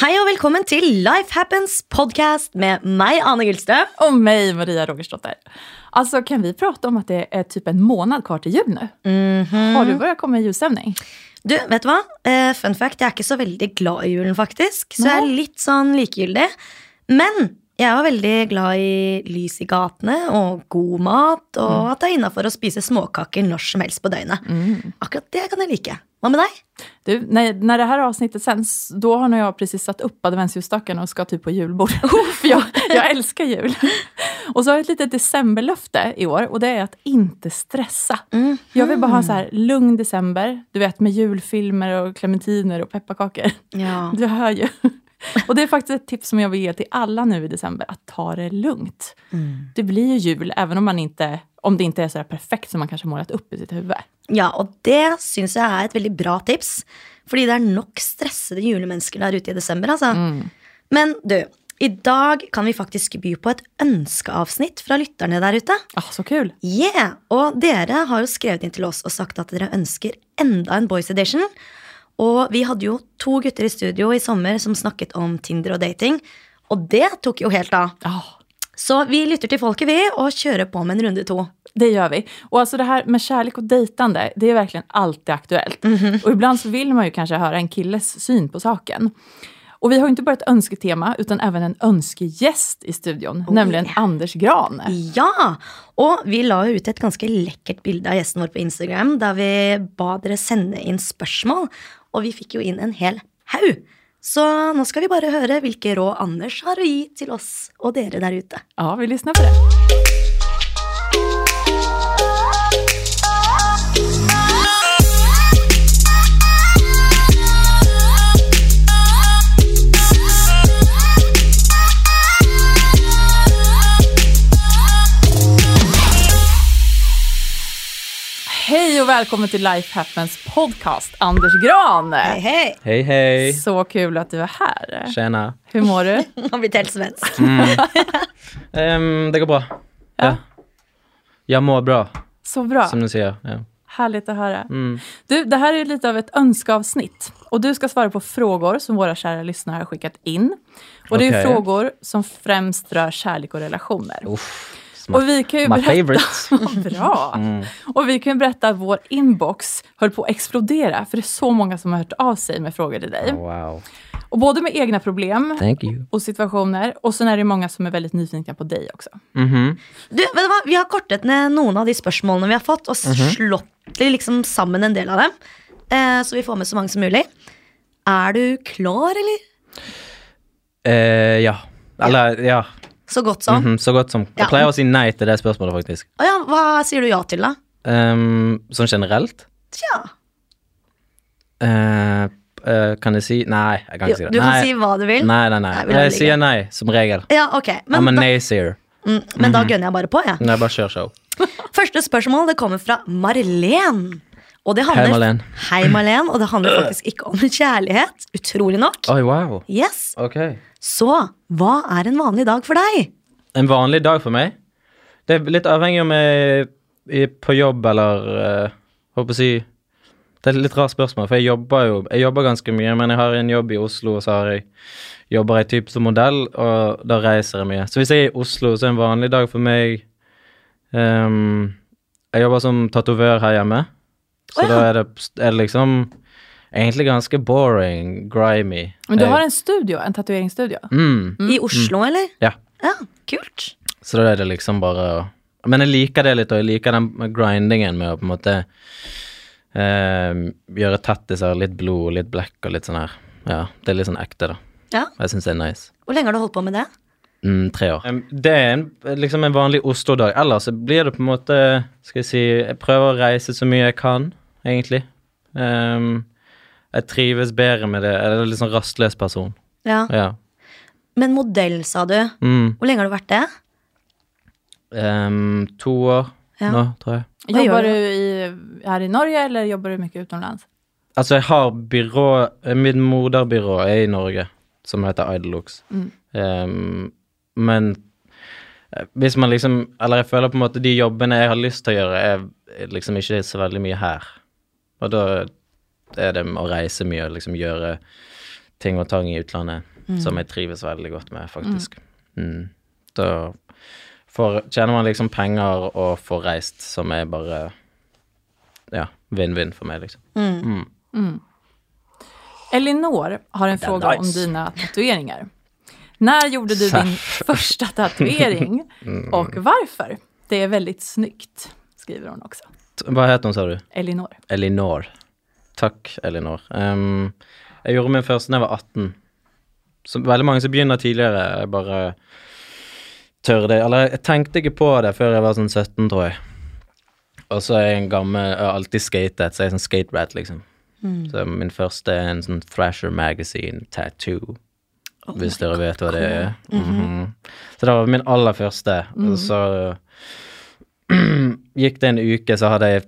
Hei og velkommen til Life Happens podcast med meg, Ane Gullstøv. Och mig, Maria Rogersdotter. Alltså kan vi prata om att det är typ en månad kvar till jul nu? Har du börjat komma i ljusstämning? Du, vet du hva? Eh, fun fact, jeg er ikke så veldig glad i julen, faktisk. Så jeg er Nei. litt sånn likegyldig. Men jeg var veldig glad i lys i gatene og god mat, og at det er innafor å spise småkaker når som helst på døgnet. Akkurat det kan jeg like. Hva med deg? Du, när, när det här avsnittet sänds, då har nog jag precis satt upp adventsljusstaken och ska typ på julbord. För jag, jag älskar jul. Och så har jag ett litet decemberlöfte i år och det är att inte stressa. Jag vill bara ha en så här lugn december, du vet med julfilmer och clementiner och pepparkakor. Ja. Du hör ju. Och det är faktiskt ett tips som jag vill ge till alla nu i december, att ta det lugnt. Det blir ju jul även om, man inte, om det inte är så där perfekt som man kanske målat upp i sitt huvud. Ja, og det syns jeg er et veldig bra tips. Fordi det er nok stressede julemennesker der ute i desember, altså. Men du, i dag kan vi faktisk by på et ønskeavsnitt fra lytterne der ute. Ah, så kul! Yeah! Og dere har jo skrevet inn til oss og sagt at dere ønsker enda en Boys Edition. Og vi hadde jo to gutter i studio i sommer som snakket om Tinder og dating. Og det tok jo helt av. Ah, Så vi lytter til folket, vi, og kjører på med en runde to. det gör vi. Och alltså det här med kärlek och dejtande, det är verkligen alltid aktuellt. Och ibland så vill man ju kanske höra en killes syn på saken. Och vi har ju inte bara ett önsketema, utan även en önskegäst i studion, nämligen Anders Gran. Ja, og vi la jo ut et ganske lekkert bilde av gjesten vår på Instagram da vi ba dere sende inn spørsmål, og vi fikk jo inn en hel haug. Så nå skal vi bare høre hvilke råd Anders har å gi til oss og dere der ute. Ja, vi lyssnar på det. Hej och välkommen till Life Happens podcast, Anders Gran! Hei, hei! Hej hej! Så kul att du är här. Tjena. Hur mår du? Han har blitt helt svensk. Ehm, det går bra. Ja. Jag mår bra, Så bra. som du ser. Ja. Härligt att höra. Mm. Du, det här är lite av ett önskeavsnitt. Och du ska svara på frågor som våra kära lyssnare har skickat in. Och det är ju Okej. frågor som främst rör kärlek och relationer. Uff, Och vi kan ju my berätta... favorite. Mm. Vad bra! Och vi kan ju berätta att vår inbox höll på att explodera, för det är så många som har hört av sig med frågor till dig. Oh, Wow. Och både med egna problem Thank you. och situationer, och sen är det många som är väldigt nyfikna på dig också. Mhm. Du, vet du hva? Vi har kortet ned noen av de spørsmålene vi har fått, og slått liksom sammen en del av dem, eh, så vi får med så mange som mulig. Er du klar, eller? Eh, ja. Eller, ja. Så godt som. Å Mhm, så gott som. Ja. Jeg pleier å si nei til det spørsmålet, faktisk. ja, hva sier du ja til, da? Ehm, sånn generelt. Tja. Eh, eh, kan jeg si Nei, jeg kan Jo, ikke si det. du kan nei. si hva du vil. nei, nei, Nei, nei. vi lar Jeg det ligge. sier nei, som regel. Ja, ok. Men, I'm a da, naysayer. mm, men Mhm. da gønner jeg bare på, jeg. Når jeg bare kjører show. Første spørsmål det kommer fra Marlen. Og det handler, Hei, Marlen. Hei, Marlen, Og det handler faktisk ikke om kjærlighet. Utrolig nok. Oi, wow. Yes. Ok. Så hva er en vanlig dag for deg? en vanlig dag for meg. Det er litt avhengig om jeg er på jobb eller uh, Håper å si Det er et litt rart spørsmål, for jeg jobber jo Jeg jobber ganske mye, men jeg har en jobb i Oslo, og så har jeg, jobber jeg typ som modell, og da reiser jeg mye. Så hvis jeg er i Oslo, så er en vanlig dag for meg ehm, Jeg jobber som tatovør her hjemme, Å så ja. da er det, er det liksom Egentlig ganske boring, grimy. Men du Jeg- har en studio, en tatueringsstudio. mm, I Oslo, eller? Ja. Ja, kult. Så da er det liksom bare å Men jeg liker det litt, og jeg liker den grindingen med å på en måte eh, gjøre tattiser, litt blod, litt blekk og litt sånn her. Ja, det er litt sånn ekte, da. Ja. Og Jeg syns det er nice. Hvor lenge har du holdt på med det? Mm, tre år. Em, Det er en, liksom en vanlig Oslo-dag. Ellers så blir det på en måte Skal jeg si Jeg prøver å reise så mye jeg kan, egentlig. Em, jeg trives bedre med det. Jeg er litt sånn rastløs person. Ja. Ja. Men modell, sa du. Mm. Hvor lenge har du vært det? Em, to år Ja. nå, tror jeg. Vad Jobbar gör du du? i, här i Norge eller jobbar du mycket utomlands? Altså, jeg har byrå Mitt moderbyrå er i Norge, som heter Idolux. Um, men eh, hvis man liksom Eller jeg føler på en måte de jobbene jeg har lyst til å gjøre, er- er liksom ikke så veldig mye her. Og da er det å reise mye og liksom gjøre ting og tang i utlandet. som jeg trives veldig godt med, faktisk. Mm. Da får, tjener man liksom penger og får reist, som er bare Ja, vinn-vinn for meg, liksom. Elinor har en fråga om nice. dina tatueringar. När gjorde du din första tatuering och varför? Det är väldigt snyggt, skriver hon också. T- Hva het hun, sa du? Elinor. Elinor. Takk, Elinor. Ehm, jeg gjorde min første da jeg var 18. Så veldig mange som begynner tidligere. Jeg bare tør det. Eller jeg tenkte ikke på det før jeg var sånn 17, tror jeg. Og så er jeg en gammel Jeg har alltid skatet, så jeg er sånn skate-rat, liksom. Mm. Så min første er en sånn Thrasher Magazine tattoo. hvis dere vet hva det er. Mhm. Så det var min aller første. Mhm. Og så gikk det en uke, så hadde jeg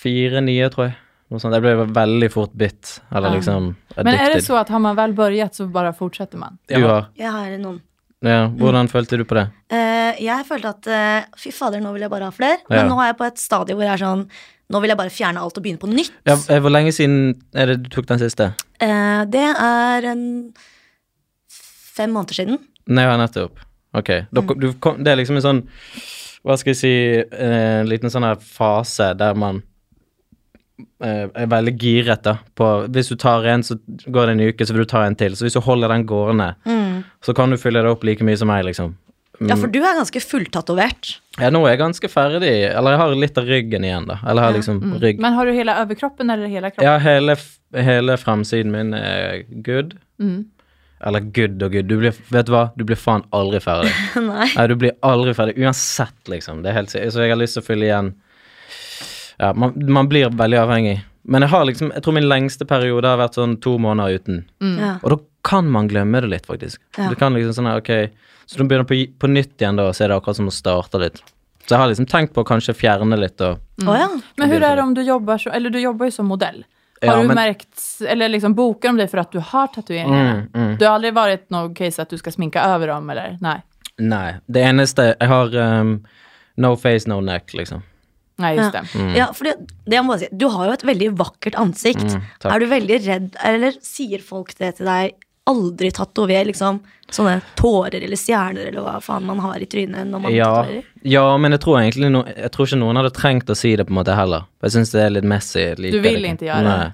fire nye, tror jeg. Noe sånt. Jeg ble veldig fort bitt. Eller Ah. liksom Men är det addicted. så att har man väl börjat så bara fortsätter man? Du har Jeg har noen. Ja, hvordan følte du på det? Eh, jeg følte at eh, fy fader, nå vil jeg bare ha flere. Ja. Men nå er jeg på et stadie hvor jeg er sånn Nå vil jeg bare fjerne alt og begynne på nytt. Ja, eh, hvor lenge siden er det du tok den siste? Eh, det er en fem måneder siden. Nei, ja, nettopp. Ok. Da kom- du kom, det er liksom en sånn Hva skal jeg si En liten sånn her fase der man eh, er veldig giret, da. På, hvis du tar en, så går det en uke, så vil du ta en til. Så hvis du holder den gående, så kan du fylle det opp like mye som meg, liksom. Ja, for du er ganske fulltatovert. Ja, nå er jeg ganske ferdig. Eller jeg har litt av ryggen igjen, da. Eller jeg har liksom rygg. Men har du hela överkroppen eller hela kroppen? Ja, hele, f- hele framsiden min er good. Eller good og good. Du blir, vet du hva? Du blir faen aldri ferdig. Nei. Nei, du blir aldri ferdig uansett, liksom. Det er helt sikkert. Så jeg har lyst til å fylle igjen. Ja, man, man blir veldig avhengig. Men jeg har liksom, jeg tror min lengste periode har vært sånn to måneder uten. Ja. Og da kan man glemme det litt, faktisk. Mm. Ja. Du kan liksom sånn her, ok, så du begynner på, på nytt igjen da, og så er det akkurat som å starte litt. Så jeg har liksom tenkt på å kanskje fjerne litt og Å ja. Men hur är det om du jobbar, så, eller du jobbar ju som modell? Har Ja, du men- märkt, eller liksom bokar de dig för att du har tatueringarna? mm, Du har aldrig varit något case att du ska sminka över dem eller? Nej, Nei. Det eneste Jeg har ehm, no face, no neck, liksom. Nej just det. Mm. ja for det, det jeg må bare si, du har jo et veldig vakkert ansikt. Mm, takk. er du veldig redd, eller sier folk det til deg? Aldri tatover liksom sånne tårer eller stjerner eller hva faen man har i trynet når man Ja, tatoverer. ja, men jeg tror egentlig no, Jeg tror ikke noen hadde trengt å si det på en måte heller. Jeg syns det er litt messy. Like, Du vil ikke gjøre det. Nei.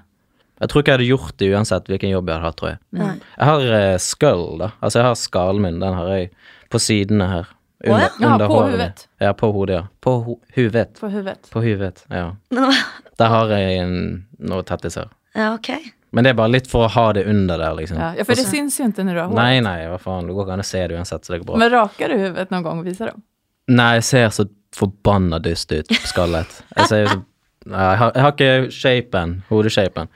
Jeg tror ikke jeg hadde gjort det uansett hvilken jobb jeg hadde hatt, tror jeg. Jeg har eh, skull, da. Altså, jeg har skallen min. Den har jeg på sidene her. ja. Ja, på håret huvudet. mitt. Ja, på hodet, ja. På ho huvudet. På huvudet. På huvudet, ja. Men, Der har jeg en, noe tettiser. ja, ok. Men det er bare litt for å ha det under der, liksom. Ja, ja, för det syns ju inte när du har hår. Nei, nei, hva faen. Det går ikke an å se det uansett, så det går bra. Men rakar du huvudet någon gång och visar dem? Nei, jeg ser så forbanna dyst ut på skallet. Jeg ser jo så Nei, jeg har, jeg har ikke shapen, hodeshapen.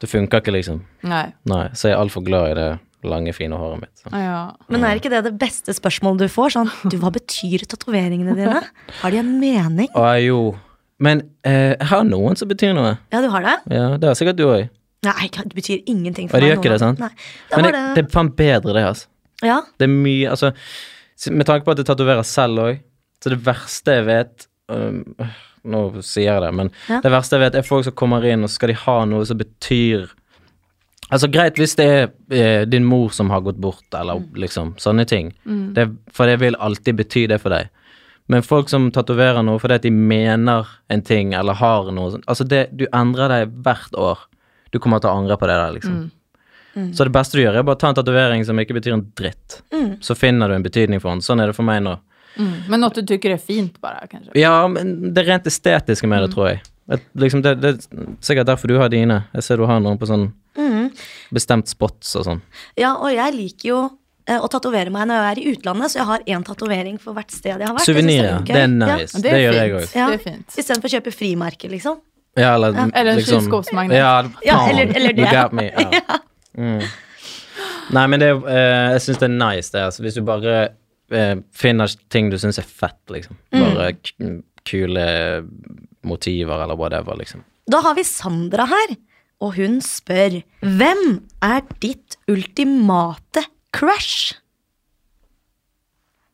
Det funker ikke, liksom. Nej. Nei, så jeg er altfor glad i det lange, fine håret mitt. Så. Ja, Ja. Men Mm. er ikke det det beste spørsmålet du får? Sånn, du, Hva betyr tatoveringene dine? Har de en mening? Å jo. Men eh, jeg har noen som betyr noe. Ja, du har det? Ja, Det har sikkert du òg. Nei, det betyr ingenting for Og det meg. gjør ikke det, sant? Nei. Da Men var det, det er faen bedre, det, altså. det ja. Det er mye Altså, s- med tanke på at jeg tatoverer selv òg, så det verste jeg vet um, øh, Nå sier jeg det, men Ja. det verste jeg vet, er folk som kommer inn, og skal de ha noe som betyr Altså, greit hvis det er eh, din mor som har gått bort, eller liksom sånne ting, det, for det vil alltid bety det for deg. Men folk som tatoverer noe fordi at de mener en ting eller har noe sånt Altså, det, du endrer deg hvert år. Du kommer til å angre på det der, liksom. Så det beste du gjør, er bare ta en tatovering som ikke betyr en dritt. Så finner du en betydning for den. Sånn er det for meg nå. Mm. Men något du tycker är fint bara kanske? Ja, men det rent estetiske med det, tror jeg. At, liksom, det, det er sikkert derfor du har dine. Jeg ser du har noen på sånn bestemt spots og sånn. ja, og jeg liker jo eh, å tatovere meg når jeg er i utlandet, så jeg har én tatovering for hvert sted Ah, jeg har vært. Jeg synes Suvenir, ja. litt gøy. Ja, Det er nice. Det, det er gjør jeg fint. òg. Ja. Det er fint. Istedenfor å kjøpe frimerker, liksom. Ja, eller, liksom- Eller en kyleskåpsmagnet. Ja, Ja, faen, eller- eller det. You got me. Ja. Mm. Nei, men det, er, eh, jeg syns det er nice, det. Altså, hvis du bare eh, finner ting du syns er fett, liksom. Bare k kule motiver eller whatever, liksom. Da har vi Sandra her, og hun spør Hvem er ditt ultimate crush?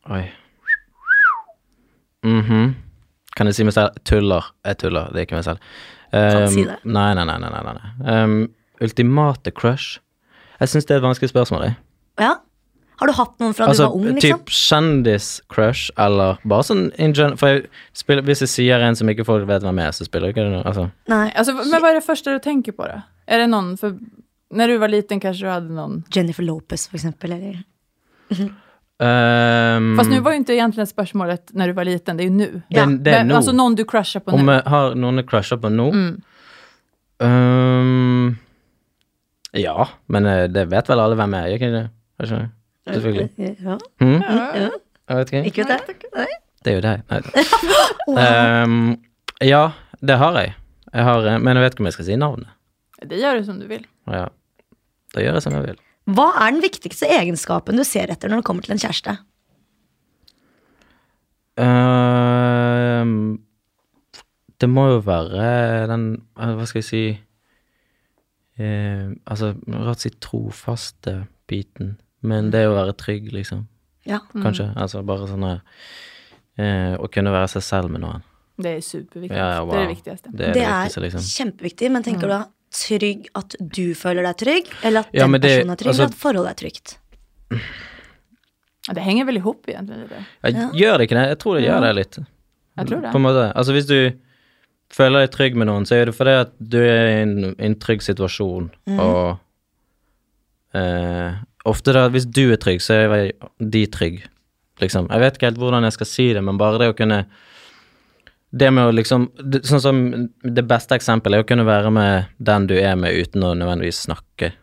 Oi. Mhm. Kan jeg si meg selv Tuller. Jeg tuller, det er ikke meg selv. Kan du Um, si det? Ehm, Nei, nei, nei. nei, nei, nei. Um, ultimate crush? Jeg syns det er et vanskelig spørsmål. Jeg. Ja. Har du hatt noen fra Altså, du var ung, liksom? typ kjendis-crush, eller bare sånn in general For jeg spiller, hvis jeg sier en som ikke folk vet hvem er, så spiller ikke det noe altså. Nei. Alltså, men vad är det första du tänker på då? Är det någon, för när du var liten kanske du hade någon... Jennifer Lopez, for eksempel. Eller? Ehm, Fast nu var ju inte egentligen spörsmålet när du var liten, det är ju nu. Det- Ja. det är Men, nu. Alltså någon du crushar på Om nu. jeg har noen jeg crusher på nå Mm. Ehm, Ja, men eh, det vet vel alle hvem jeg er, gjør ikke det? Gjør ikke det? Selvfølgelig. Ja. Hm? Ja. Jeg vet ikke. Ikke vet jeg. Nei. Det er jo deg. Nei. Ehm, ja, det har jeg. jeg har, eh, men jeg vet ikke om jeg skal si navnet. Det gör du som du vill. Ja. Da gjør jeg som jeg vil. Hva er den viktigste egenskapen du ser etter når det kommer til en kjæreste? Ehm, det må jo være den eh, Hva skal jeg si Eh, Altså, rart å si trofaste biten, men det å være trygg, liksom. Ja. Kanskje. Altså bare sånn her eh, Å kunne være seg selv med noen. Det är superviktigt. Ja, ja, wow. Det är det viktigaste. Det er Det det, er viktigste, liksom. kjempeviktig, men tenker du da trygg at du føler deg trygg, eller at Ja, den men det- personen er trygg, altså- eller at forholdet er trygt? Ja, Det hänger väl ihop egentligen lite. Jeg, Gjør det ikke det? Jeg tror det gjør det litt. Jag tror det. På en måte. Altså, hvis du føler deg trygg med noen, så er det fordi at du er i en, i en trygg situasjon, Mhm. og eh, ofte da, hvis du er trygg, så er vel de trygg, liksom. Jeg vet ikke helt hvordan jeg skal si det, men bare det å kunne det med å liksom, det- sånn som det beste eksempelet er å kunne være med den du er med uten å nødvendigvis snakke.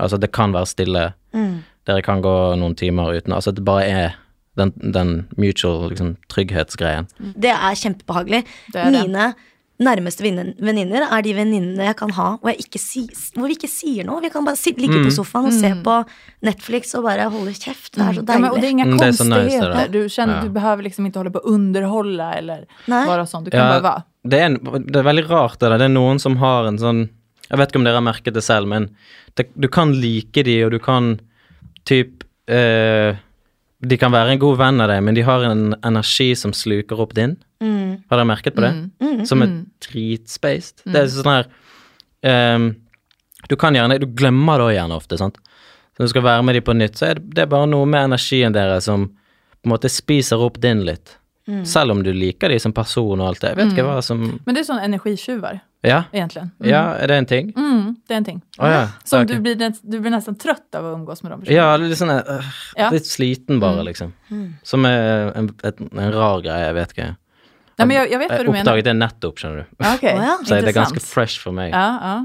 Altså, det kan være stille, Mm. dere kan gå noen timer uten, altså det bare er den, den mutual liksom, trygghetsgreien. Mm. Det er kjempebehagelig. Det er det. Mine nærmeste vennin- venninner er de venninnene jeg kan ha hvor, jeg ikke si, hvor vi ikke sier noe. Vi kan bare sit, ligge Mm. på sofaen og se på Netflix og bare holde kjeft. Det er så Ja, men, och det är deilig. inga Mm, det är så nice det konstigheter. där. du, känner, Ja. du behöver liksom inte hålla på och underhålla eller Nej. vara sån. Du kan Ja. bara vara. Det er, en, det er veldig rart det der. Det er noen som har en sånn Jeg vet ikke om dere har merket det selv, men det, du kan like de, og du kan typ eh, De kan være en god venn av deg, men de har en energi som sluker opp din. Mm. Har dere merket på det? Som er dritspaced. Det er sånn her ehm, Du kan gjerne Du glemmer det òg gjerne ofte, sant. Så når du skal være med de på nytt, så er det, det er bare noe med energien deres som på en måte spiser opp din litt. Mm. Selv om du liker de som person og alt det. Jeg vet ikke hva som Men det är sån energitjuvar Ja. egentligen. Ja, er det en ting? Mm, det är en ting. Å ja. Som ok. du, blir, nä- du blir nästan trött av att umgås med de personerna. Ja, litt sånn øh, Ja. Mm. Litt sliten, bare, liksom. Som er en, et, en rar greie, jeg vet ikke. Nej, men jag, jag vet vad Jeg du menar. Eh, oppdaget det nettopp, skjønner du. Ja, Okej, Å ja. Så det er ganske intressant. fresh for meg. Ja, ja.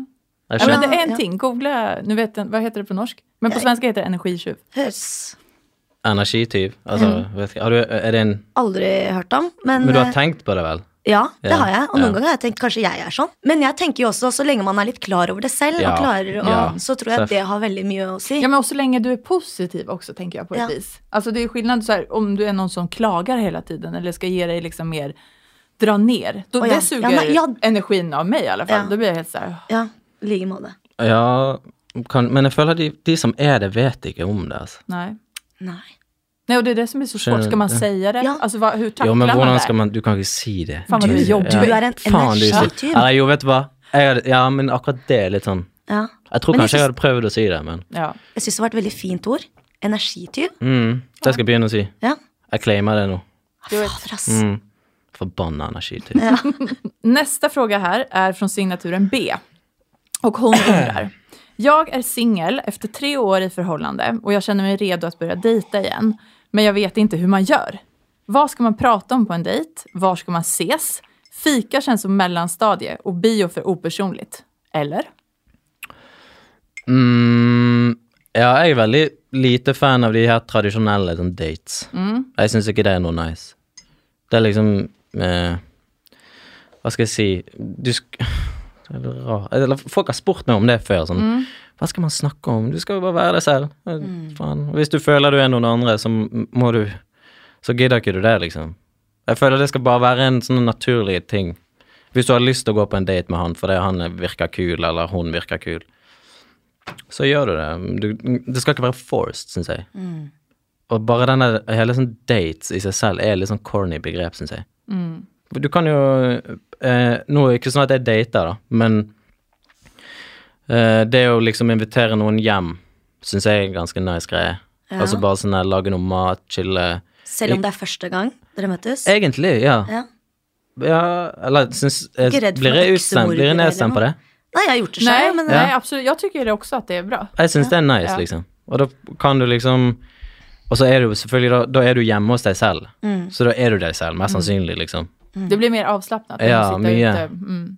Jeg ja, men skjønner. det är en Ja. ting. Googla, nu vet jag, vad heter det på norsk? Men på svenska heter det energitjuv. Høres Energityv. Altså, Mm. vet ikke. Har du, er det en aldri hørt om, men, Men du har eh, tenkt på det, vel? Ja, det Ja, har jeg. Og noen ja. ganger har jeg tenkt kanskje jeg er sånn. Men jeg tenker jo også, så lenge man er litt klar over det selv, Ja, og klarer å, ja. så tror jeg Seff. det har veldig mye å si. Ja, men och så länge du är positiv också tänker jag på ett Ja. vis. Alltså det är skillnad så här, om du är någon som klagar hela tiden eller ska ge dig liksom mer dra ner. Då, Å ja. Det suger Ja, nej, jag- energin av mig i alla fall. Ja. Då blir jag helt så här, Ja, i like måte. Ja, kan, men jeg føler de, de som er det, vet ikke om det, altså. nej. Nei. Nej, och det är det som är så svårt. Skjønner Ska man du? säga det? Ja. Alltså vad, hur tacklar Jo, men man hvordan det? skal man Du kan ikke si det. Faen, men du er jobbig. Du er en Faen, du er så- energityv. Eller jo, vet du hva. Jeg, hadde- ja, men akkurat det er litt sånn Ja. Jeg tror Men jeg kanskje jeg syns- hadde prøvd å si det, men Ja. Jeg syns det var et veldig fint ord. Energityv. mm, Det skal jeg begynne å si. Ja. Jeg claimer det nå. Du vet. Fader, ass. Mm. Forbanna energityv. Nästa fråga här är från signaturen B. Och hon undrar. Jag är singel efter tre år i förhållande och jag känner mig redo att börja dejta igen. Men jag vet inte hur man gör. Vad ska man prata om på en dejt? Var ska man ses? Fika känns som mellanstadie och bio för opersonligt. Eller? Mm, ja, jeg er veldig lite fan av de her tradisjonelle sånn, dates. Jeg syns ikke det er noe nice. Det er liksom eh, Hva skal jeg si Du sk... Det er litt rar- Eller, folk har spurt meg om det før. Sånn. Hva skal man snakke om? Du skal jo bare være deg selv. Eh, Faen. Hvis du føler du er noen andre, så m- må du Så gidder ikke du det, liksom. Jeg føler det skal bare være en sånn naturlig ting. Hvis du har lyst til å gå på en date med han fordi han virker kul, eller hun virker kul, så gjør du det. Du, det skal ikke være forced, syns jeg. Og bare denne hele sånn dates i seg selv er litt sånn corny begrep, syns jeg. Du kan jo eh, Nå er det ikke sånn at jeg dater, da, men eh, det å liksom invitere noen hjem syns jeg er en ganske nice greie. Ja. Altså bare sånn der, lage noe mat, chille. Selv om det er første gang dere møtes? Egentlig, ja. Ja. ja eller syns Ikke jeg, redd for Blir jeg noe utstemt? Blir eksemorder jeg nedstemt på eller det? Nei, jeg har gjort det Nej, sjøl, men nej, absolut. Jag tycker också att det är bra. Jeg syns det er nice, Ja. liksom. Og da kan du liksom Og så er du selvfølgelig da, da er du hjemme hos deg selv. Mm. Så da er du deg selv, mest sannsynlig, liksom. Det blir mer avslappnat när Ja, man sitter mye. ute. Mm.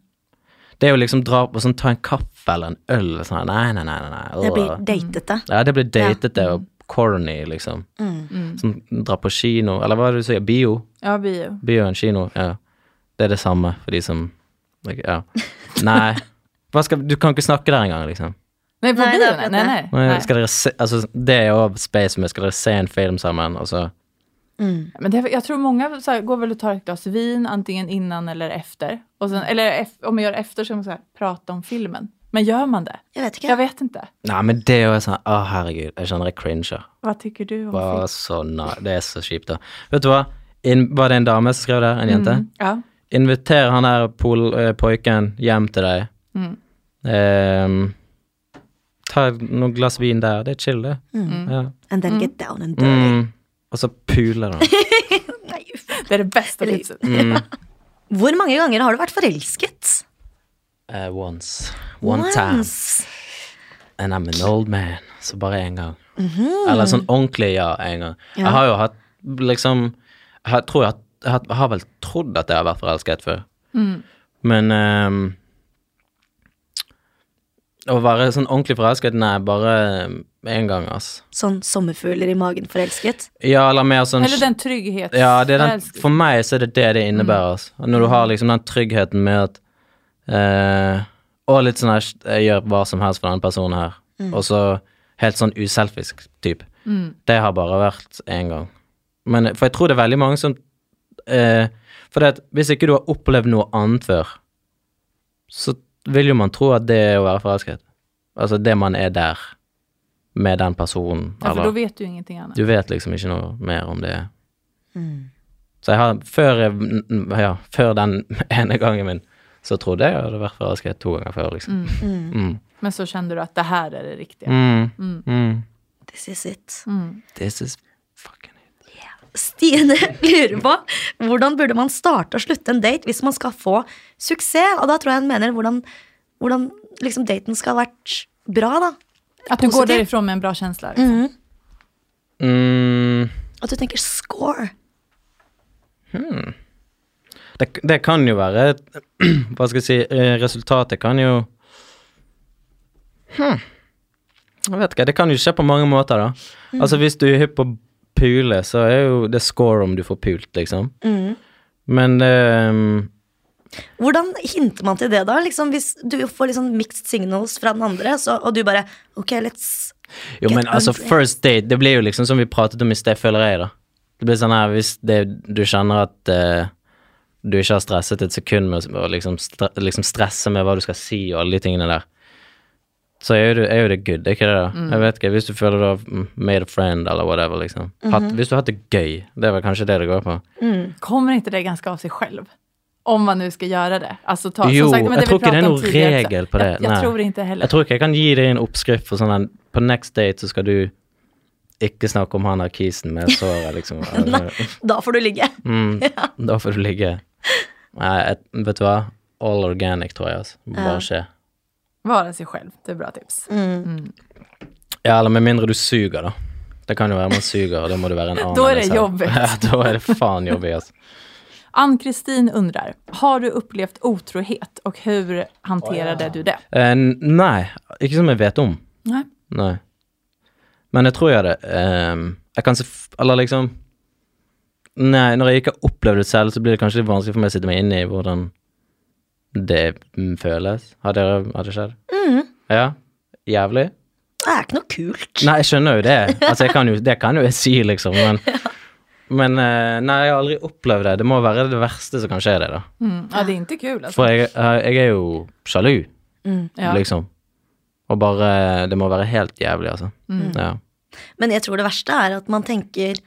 Det er jo liksom dra på sånn ta en kaffe eller en øl og sånn. Nei, nei, nei. nei, nei. det Mm. blir Åh. datete. Ja, det blir datete og corny, liksom. Sånn, dra på kino, eller hva er det du sier, bio? Ja, bio. Bio og en kino, ja. Det er det samme for de som like, Ja. Nei. Hva skal, du kan ikke snakke der engang, liksom. Nej, på Nej, det bio? är Nej, nej, nej. Nå Skal dere se, altså, det er jo space med, skal dere se en film sammen, og så Men det, jag tror många så här, går väl och tar ett glas vin antingen innan eller efter. Och sen, eller eff- om man gör efter så kan man så här, prata om filmen. Men gör man det? Jeg vet Jag ikke. vet inte. Nei, men det er jo sånn Å, herregud, jeg kjenner jeg cringer. Vad tycker du om film? Bare så na- Det er så kjipt, da. Vet du hva? In, var det en dame som skrev der? En jente? Ja. Inviter han der pol, eh, pojken hjem til deg. Mm. Ehm, ta noen glass vin der. Det er chill, det. Ja. And then get down and dirty. Mm. Og så puler han. Nei, uff. Det är det bästa Eller- tipset. Hvor mange ganger har du vært forelsket? Eh, once. One time. Once. And I'm an old man. Så bare én gang. Eller sånn ordentlig ja én gang. Jeg har jo hatt liksom Jeg har- tror jeg, har- jeg har, jeg har vel trodd at jeg har vært forelsket før. Men ehm, Å være sånn ordentlig forelsket, nei, bare én gang, ass. Sånn sommerfugler i magen forelsket. Ja, eller mer sånn Eller den trygghet. Mm. Ja, det er den, Älsk- for meg så er det det det innebærer. Altså. Når du har liksom den tryggheten med at eh, Og litt sånn her Jeg gjør hva som helst for denne personen her. Mm. Og så helt sånn uselfisk type. Det har bare vært én gang. Men, eh, for jeg tror det er veldig mange som eh, For det at hvis ikke du har opplevd noe annet før, så vil jo man tro at det er å være forelsket. Altså det man er der med den personen. ja, för eller- då vet du ingenting annat. du vet liksom ikke noe mer om det. Mm. Så jeg har, før, jeg- n- n- ja, før den ene gangen min, så trodde jeg jeg hadde vært forelsket to ganger før, liksom. Mm. Men så kände du att det här är det riktiga. Mm. Mm. This is it. This is fucking it. Stine lurer på hvordan burde man starte og slutte en date hvis man skal få suksess? Og da tror jeg hun mener hvordan, hvordan liksom daten skal ha vært bra, da. Att du går Positiv. därifrån med en bra känsla. Mm. At du tenker score. Det, det kan jo være Hva skal jeg si eh, Resultatet kan jo Hm. Jeg vet ikke. Det kan jo skje på mange måter, da. Altså, hvis du er hypp på å pule, så er jo det score om du får pult, liksom. Men ehm, Hvordan hinter man til det, da? Liksom, hvis du får liksom mixed signals fra den andre, så, og du bare Ok, let's Jo, Get men altså, ugly. first date, det blir jo liksom som vi pratet om i sted, føler jeg, da. Det blir sånn her, hvis det, du kjenner at eh, du ikke har stresset et sekund med å- å liksom, stre, liksom stresse med hva du skal si og alle de tingene der, så er jo, det- er jo det good, er ikke det da? Mm. Jeg vet ikke, hvis du føler du har mm, made a friend eller whatever, liksom. Mhm. Hatt, hvis du har hatt det gøy, det er vel kanskje det det går på. Kommer inte det ganska av sig själv? Om man nu ska göra det. Alltså ta, Jo, som sagt, men jag det vi tror inte det är pratade om någon tidigare också. regel på det, Jag, jag nej. tror inte heller. Jeg tror ikke jeg kan gi deg en oppskrift for sånn en, på next date så skal du ikke snakke om han arkisen med såret, liksom. Nei, da får du ligge. Mm, Da får du ligge. Nei, et, vet du hva? All organic, tror jeg. Altså. Bare skje. Vara sig själv, det är bra tips. Ja, eller med mindre du suger, da. Det kan jo være man suger, og da må du være en annen. Da er det enn deg selv. jobbigt. Ja, da er det faen jobbig, altså. Ann-Kristin undrar, har du upplevt otrohet och hur hanterade du det? Eh, n- nei, ikke som jeg vet om. Nej. Nei. Men jeg tror jeg det. ehm, jeg kan se f- Eller liksom Nei, når jeg ikke har opplevd det selv, så blir det kanskje litt vanskelig for meg å sitte meg inn i hvordan det mm, føles. Har dere Har det skjedd? Mm. Ja? Jævlig? Det er ikke noe kult. Nei, jeg skjønner jo det. Altså, jeg kan jo, det kan jo jeg si, liksom. Men, men eh, nei, jeg har aldri opplevd det. Det må være det verste som kan skje det, da. Mm. Ja, det är inte kul alltså. For jeg, eh, jeg er jo sjalu, Ja. liksom. Og bare Det må være helt jævlig, altså. Mm. Ja. Men jeg tror det verste er at man tenker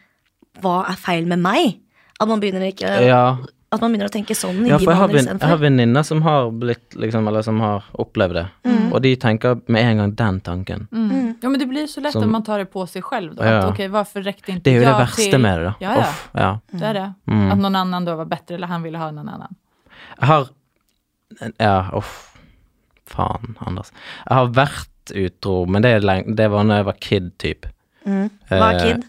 Hva er feil med meg? At man begynner ikke ja. At man begynner å tenke sånn i Ja, for jeg har, vaner venn- jeg har istedenfor. venninner som har blitt liksom, eller som har opplevd det. Mm. Og de tenker med en gang den tanken. Mm. Ja, men det blir så lätt Som- om man tar det på sig själv då. Ja. Att, okej, varför räckte inte Det er jo jag det verste till... med det, da. Ja, ja. Uff, ja. Det är det. Mm. Att någon annan då var bättre eller han ville ha någon annan. Jeg har Ja, uff. Faen, Anders. Jeg har vært utro, men det, er lenge, det var når jeg var kid, typ. Mm. Hva er Eh, kid?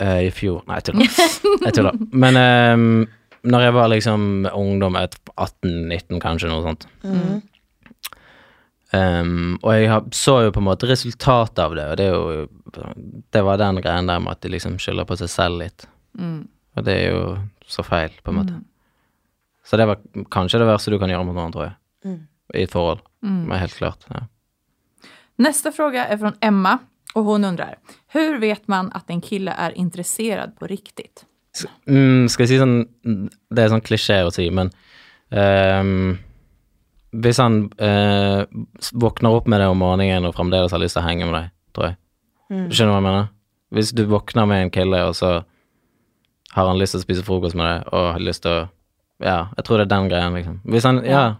Eh, I fjor Nei, jeg tuller. Jeg tuller. Men ehm, når jeg var liksom ungdom, et- 18-19 kanskje, noe sånt. Mm. Ehm, og jeg har- så jo på en måte resultatet av det, og det er jo Det var den greien der med at de liksom skylder på seg selv litt. Mm. Og det er jo så feil, på en måte. Så det var kanskje det verste du kan gjøre mot noen, tror jeg. Mm. I et forhold. Men helt klart. Ja. Nästa fråga är från Emma och hon undrar. Hur vet man att en kille är intresserad på riktigt? Mm, skal jeg si sånn Det er sånn klisjé å si, men ehm, Hvis han eh, s- våkner opp med det om morgenen og fremdeles har lyst til å henge med deg, tror jeg. Skjønner du hva jeg mener? Hvis du våkner med en kille, og så har han lyst til å spise frokost med deg, og har lyst til å Ja, jeg tror det er den greien, liksom. Hvis han Ja.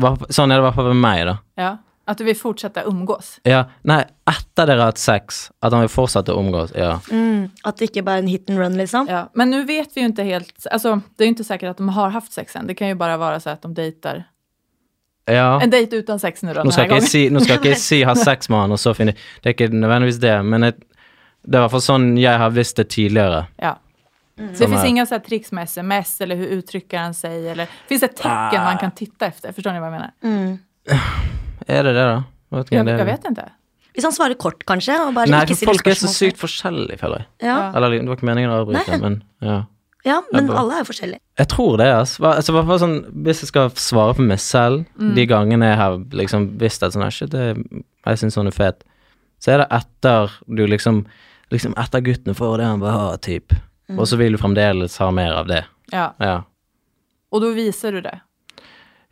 Hva- Sånn er det i hvert fall med meg, da. Ja. Att du vill fortsätta umgås. Ja, nei, etter dere har hatt sex, at han vil fortsette å omgås, ja. Mm. At det ikke bare er en hit and run, liksom. Ja. Men nu vet vi ju inte helt. Alltså, det är ju inte säkert att de har haft sex än. Det kan ju bara vara så att de dejtar. ja. En dejt utan sex nu då Nå den skal, här ikke jeg gången. si, nå skal ikke jeg si ha sex med han, og så finne Det er ikke nødvendigvis det, men jeg, det er i hvert fall sånn jeg har visst det tidligere. Ja. Det finns här- inga så här tricks med sms eller hur uttrycker han sig? Eller, finns det Ah. tecken man kan titta efter? Förstår ni vad jag menar? Mm. Er det det, da? Jeg vet ikke Jag, om det er jag det. vet inte. Hvis han svarer kort, kanskje, og bare Nei, ikke for stiller folk er spørsmål. så sykt forskjellige, føler jeg. ja. Ja. Eller det var ikke meningen å avbryte, Nei. men ja. ja, men Jeg bare- alle er jo forskjellige. Jeg tror det, altså. Hva- altså i hvert fall sånn, hvis jeg skal svare for meg selv, de gangene jeg har liksom visst at sånn her, shit, det, jeg syns sånn er fet, så er det etter du liksom Liksom etter gutten får det han vil ha, typ. Og så vil du fremdeles ha mer av det. Ja. Ja. Och då visar du det.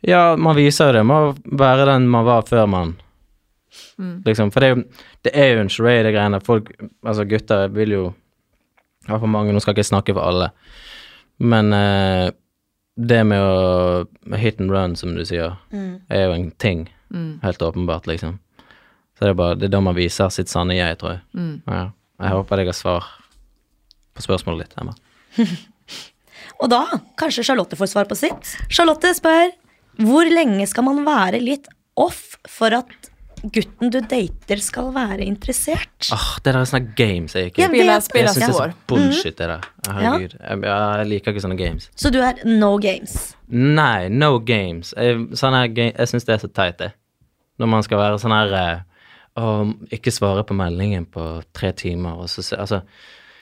Ja, man viser jo det. Man må være den man var før man Liksom, for det er, jo, det er jo en charade, det greiene. Folk, altså gutter vil jo Ja, for mange, nå skal jeg ikke snakke for alle, men eh, det med å med hit and run, som du sier, er jo en ting. Helt åpenbart, liksom. Så det er bare det er da man viser sitt sanne jeg, tror jeg. Ja. Jeg håper jeg har svar på spørsmålet ditt, Emma. Og da kanskje Charlotte får svar på sitt. Charlotte spør hvor lenge skal man være litt off for at gutten du dater, skal være interessert? Åh, det der er sånne games jeg ikke Ja, men- Spela, Jag spela jeg syns det svår. er så bullshit, det der. Herregud. Jeg, jeg liker ikke sånne games. Så du er no games. Nei, no games. Jeg, sånne her, ga- jeg syns det er så teit, det. Når man skal være sånn her eh, å, ikke svare på meldingen på tre timer, og så se- Altså,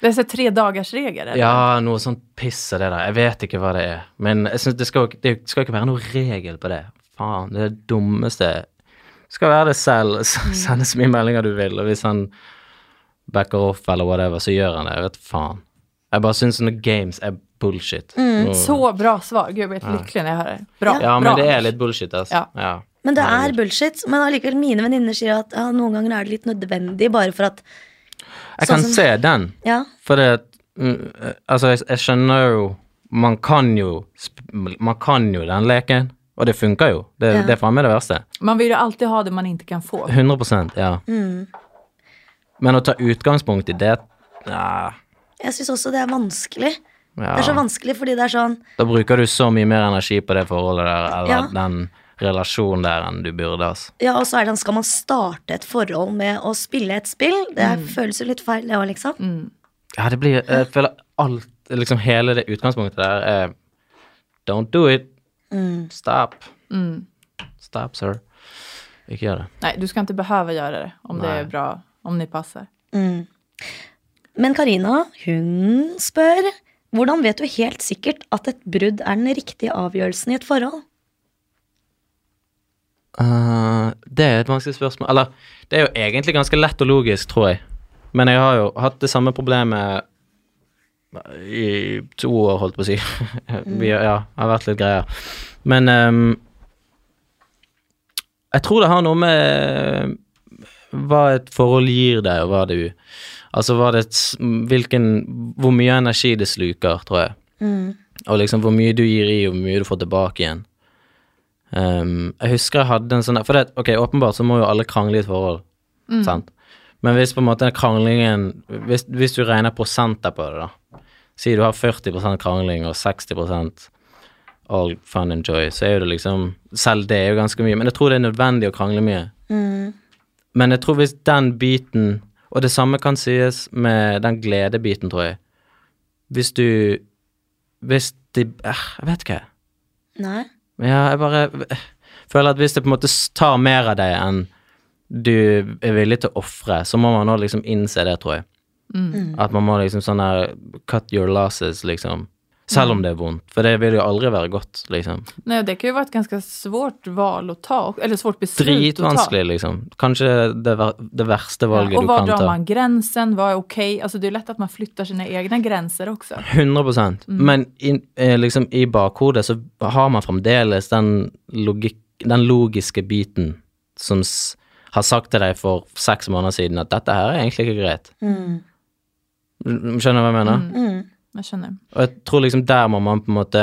Det är så här tre dagars regel. eller? ja, noe sånt piss er det der. Jeg vet ikke hva det er. Men jeg synes det, skal, ikke- det skal ikke være noen regel på det. Faen, det er det dummeste Det skal være det selv. S- Mm. Sende så mye meldinger du vil, og hvis han backer off eller whatever, så gjør han det. Jeg vet faen. Jeg bare syns sånne games er bullshit. Og- Mm, Så bra svar. Gud, jag blir helt lycklig när jag hör det. Bra. ja, men bra. det er litt bullshit, altså. Ja. Ja. Men det er bullshit. Men allikevel, mine venninner sier at ja, noen ganger er det litt nødvendig bare for at Jeg kan Sånn som- se den, Ja, for det at, mm, eh, Altså, jeg, jeg skjønner jo Man kan jo sp- Man kan jo den leken, og det funker jo. Det, Ja. det er faen meg det verste. Man vill ju alltid ha det man inte kan få. 100 ja. Mm. Men å ta utgangspunkt i det ja, jeg syns også det er vanskelig. ja. Det er så Ah. vanskelig fordi det er sånn Da bruker du så mye mer energi på det forholdet der, eller Ja. den relasjonen der, enn du burde. Altså. Ja, og så er det sånn, skal man starte et forhold med å spille et spill? Det føles jo litt feil, det òg, liksom. Ja, det blir Jeg føler alt Liksom hele det utgangspunktet der er Don't do it. Mm. Stop. Stop, sir. Ikke gjør det. Nej, du ska inte behöva göra det om det är bra, om ni passar. Men Karina, hun spør hvordan vet du helt sikkert at et brudd er den riktige avgjørelsen i et forhold? Eh, det er et vanskelig spørsmål. Eller, det er jo egentlig ganske lett og logisk, tror jeg. Men jeg har jo hatt det samme problemet i to år, holdt på å si. Vi, ja, har vært litt greier. Men ehm, jeg tror det har noe med eh, hva et forhold gir deg, og hva det Mm. Altså hva det, s- hvilken Hvor mye energi det sluker, tror jeg. Og liksom hvor mye du gir i, og hvor mye du får tilbake igjen. Ehm, jeg husker jeg hadde en sånn der For det, ok, åpenbart så må jo alle krangle i et forhold, sant? Men hvis på en måte den kranglingen hvis, hvis du regner prosenter på det, da. Si du har 40 krangling og 60 all fun and joy, så er jo det liksom Selv det er jo ganske mye, men jeg tror det er nødvendig å krangle mye. Mm. Men jeg tror hvis den biten Og det samme kan sies med den gledebiten, tror jeg. Hvis du Hvis de eh, Jeg vet ikke. Nei. Men Ja, jeg bare eh, føler at hvis det på en måte s- tar mer av deg enn du er villig til å ofre, så må man nå liksom innse det, tror jeg. Mm. At man må liksom sånn her cut your losses, liksom. Mm. Selv om det er vondt, for det vil jo aldri være godt, liksom. Nej, det kan ju vara ett ganska svårt val att ta, eller svårt beslut att ta. Dritvanskelig, liksom. Kanskje det, ver det verste valget Ja, och du var kan drar ta. man gränsen? Vad är okej? Alltså det är lätt att man flyttar sina egna gränser också. 100 Men i, eh, liksom, i bakhodet så har man fremdeles den, logik, den logiske biten som s har sagt til deg for seks måneder siden at dette her er egentlig ikke greit. Mm, Skjønner du hva jeg mener? Jag känner. Og jeg tror liksom der må man på en måte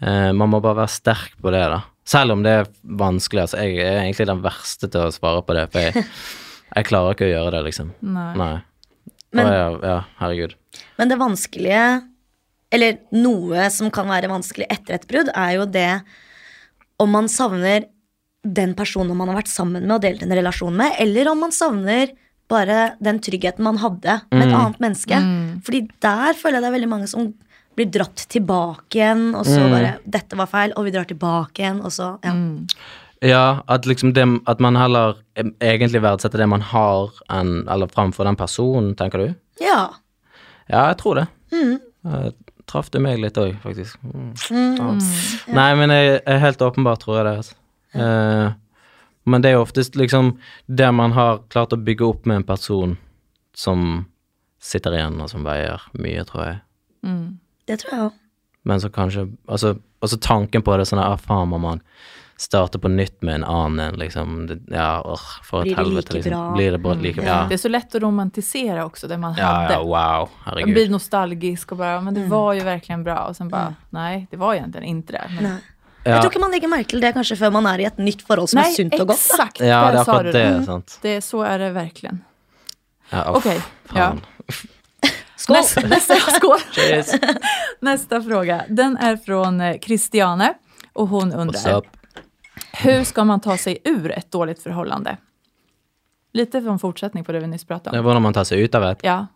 eh, Man må bare være sterk på det, da. Selv om det er vanskelig. Altså, jeg er egentlig den verste til å svare på det, for jeg, jeg klarer ikke å gjøre det, liksom. Nej. Nei. Men- Å, ja, ja, herregud. Men det vanskelige, eller noe som kan være vanskelig etter et brudd, er jo det om man savner den personen man har vært sammen med og delt en relasjon med, eller om man savner bare den tryggheten man hadde med et annet menneske. Fordi der føler jeg det er veldig mange som blir dratt tilbake igjen, og så bare 'Dette var feil', og vi drar tilbake igjen, og så Ja. Ja, at liksom det, at man heller em, egentlig verdsetter det man har, enn, eller framfor den personen, tenker du? ja. Ja, jeg tror det. Eh, Traff du meg litt òg, faktisk? Mm. Ja. Nei, men jeg, jeg helt åpenbart tror jeg det. Altså. Eh, men det er jo oftest liksom det man har klart å bygge opp med en person som sitter igjen, og som veier mye, tror jeg. Det tror jeg òg. Men så kanskje Altså, altså tanken på det sånn her, ah, faen, må man starte på nytt med en annen en, liksom. Det, ja, åh, for Blir et det like helvete, liksom. bra? Blir det bra like bra? Det är så lätt att romantisera också det man Ja, hade. ja, wow. Man blir Herregud. nostalgisk och bara, men det var ju verkligen bra. Och sen bara, nej, det var egentligen inte det. Men, Ja. Jeg tror ikke man legger merke til det kanskje før man er i et nytt forhold som er nej, sunt og godt. Da. exakt. Ja, det där er sa du Mm. akkurat det. Mm. Sant. Det, så är det verkligen. Ja, uff, Okej, ja. faen. Skål! Nästa, nästa, skål. nästa fråga. Den är från eh, Christiane och hon What's undrar, up? hur ska man ta sig ur ett dåligt förhållande? Lite från fortsättning på det vi nyss Det pratade er om. hvordan man tar seg ut av et. Ja.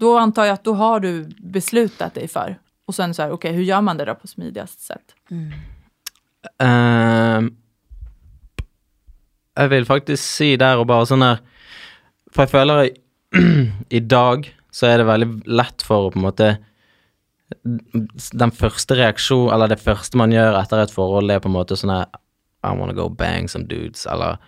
Då antar jag att då har du beslutat dig för. Och sen så här, okej, hur gör man det då på smidigast sätt? Ehm, jeg vil faktisk si der og bare sånn her For jeg føler i, i dag så er det veldig lett for å på en måte Den første reaksjon, eller det første man gjør etter et forhold, det er på en måte sånn her I wanna go bang some dudes, eller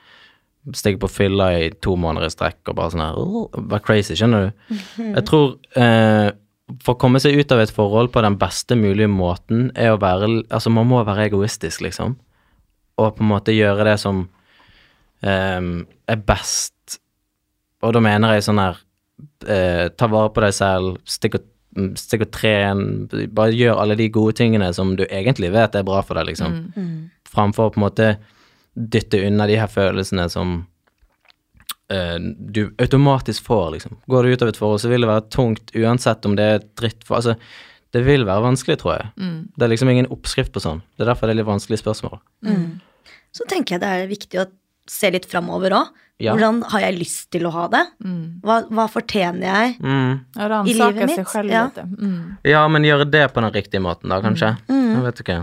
stikke på fylla i to måneder i strekk og bare sånn her «Åh», Være crazy, skjønner du? Jeg tror eh, for å komme seg ut av et forhold på den beste mulige måten, er å være Altså, man må være egoistisk, liksom. Og på en måte gjøre det som ehm, er best. Og da mener jeg sånn her eh, Ta vare på deg selv, stikk og, mm, stikk og tren. Bare gjør alle de gode tingene som du egentlig vet er bra for deg, liksom. Framfor å på en måte dytte unna de her følelsene som eh, du automatisk får, liksom. Går du ut av et forhold, så vil det være tungt uansett om det er et dritt for Altså, det vil være vanskelig, tror jeg. Det er liksom ingen oppskrift på sånn. Det er derfor det er litt vanskelig spørsmål. så tenker jeg det er viktig å se litt framover òg. Ja. Mm. Hvordan har jeg lyst til å ha det? Hva, hva fortjener jeg? Ja, I livet rannsaka sig mitt, själv ja. lite. Mm. Ja, men gjøre det på den riktige måten, da, kanskje. Jeg vet ikke.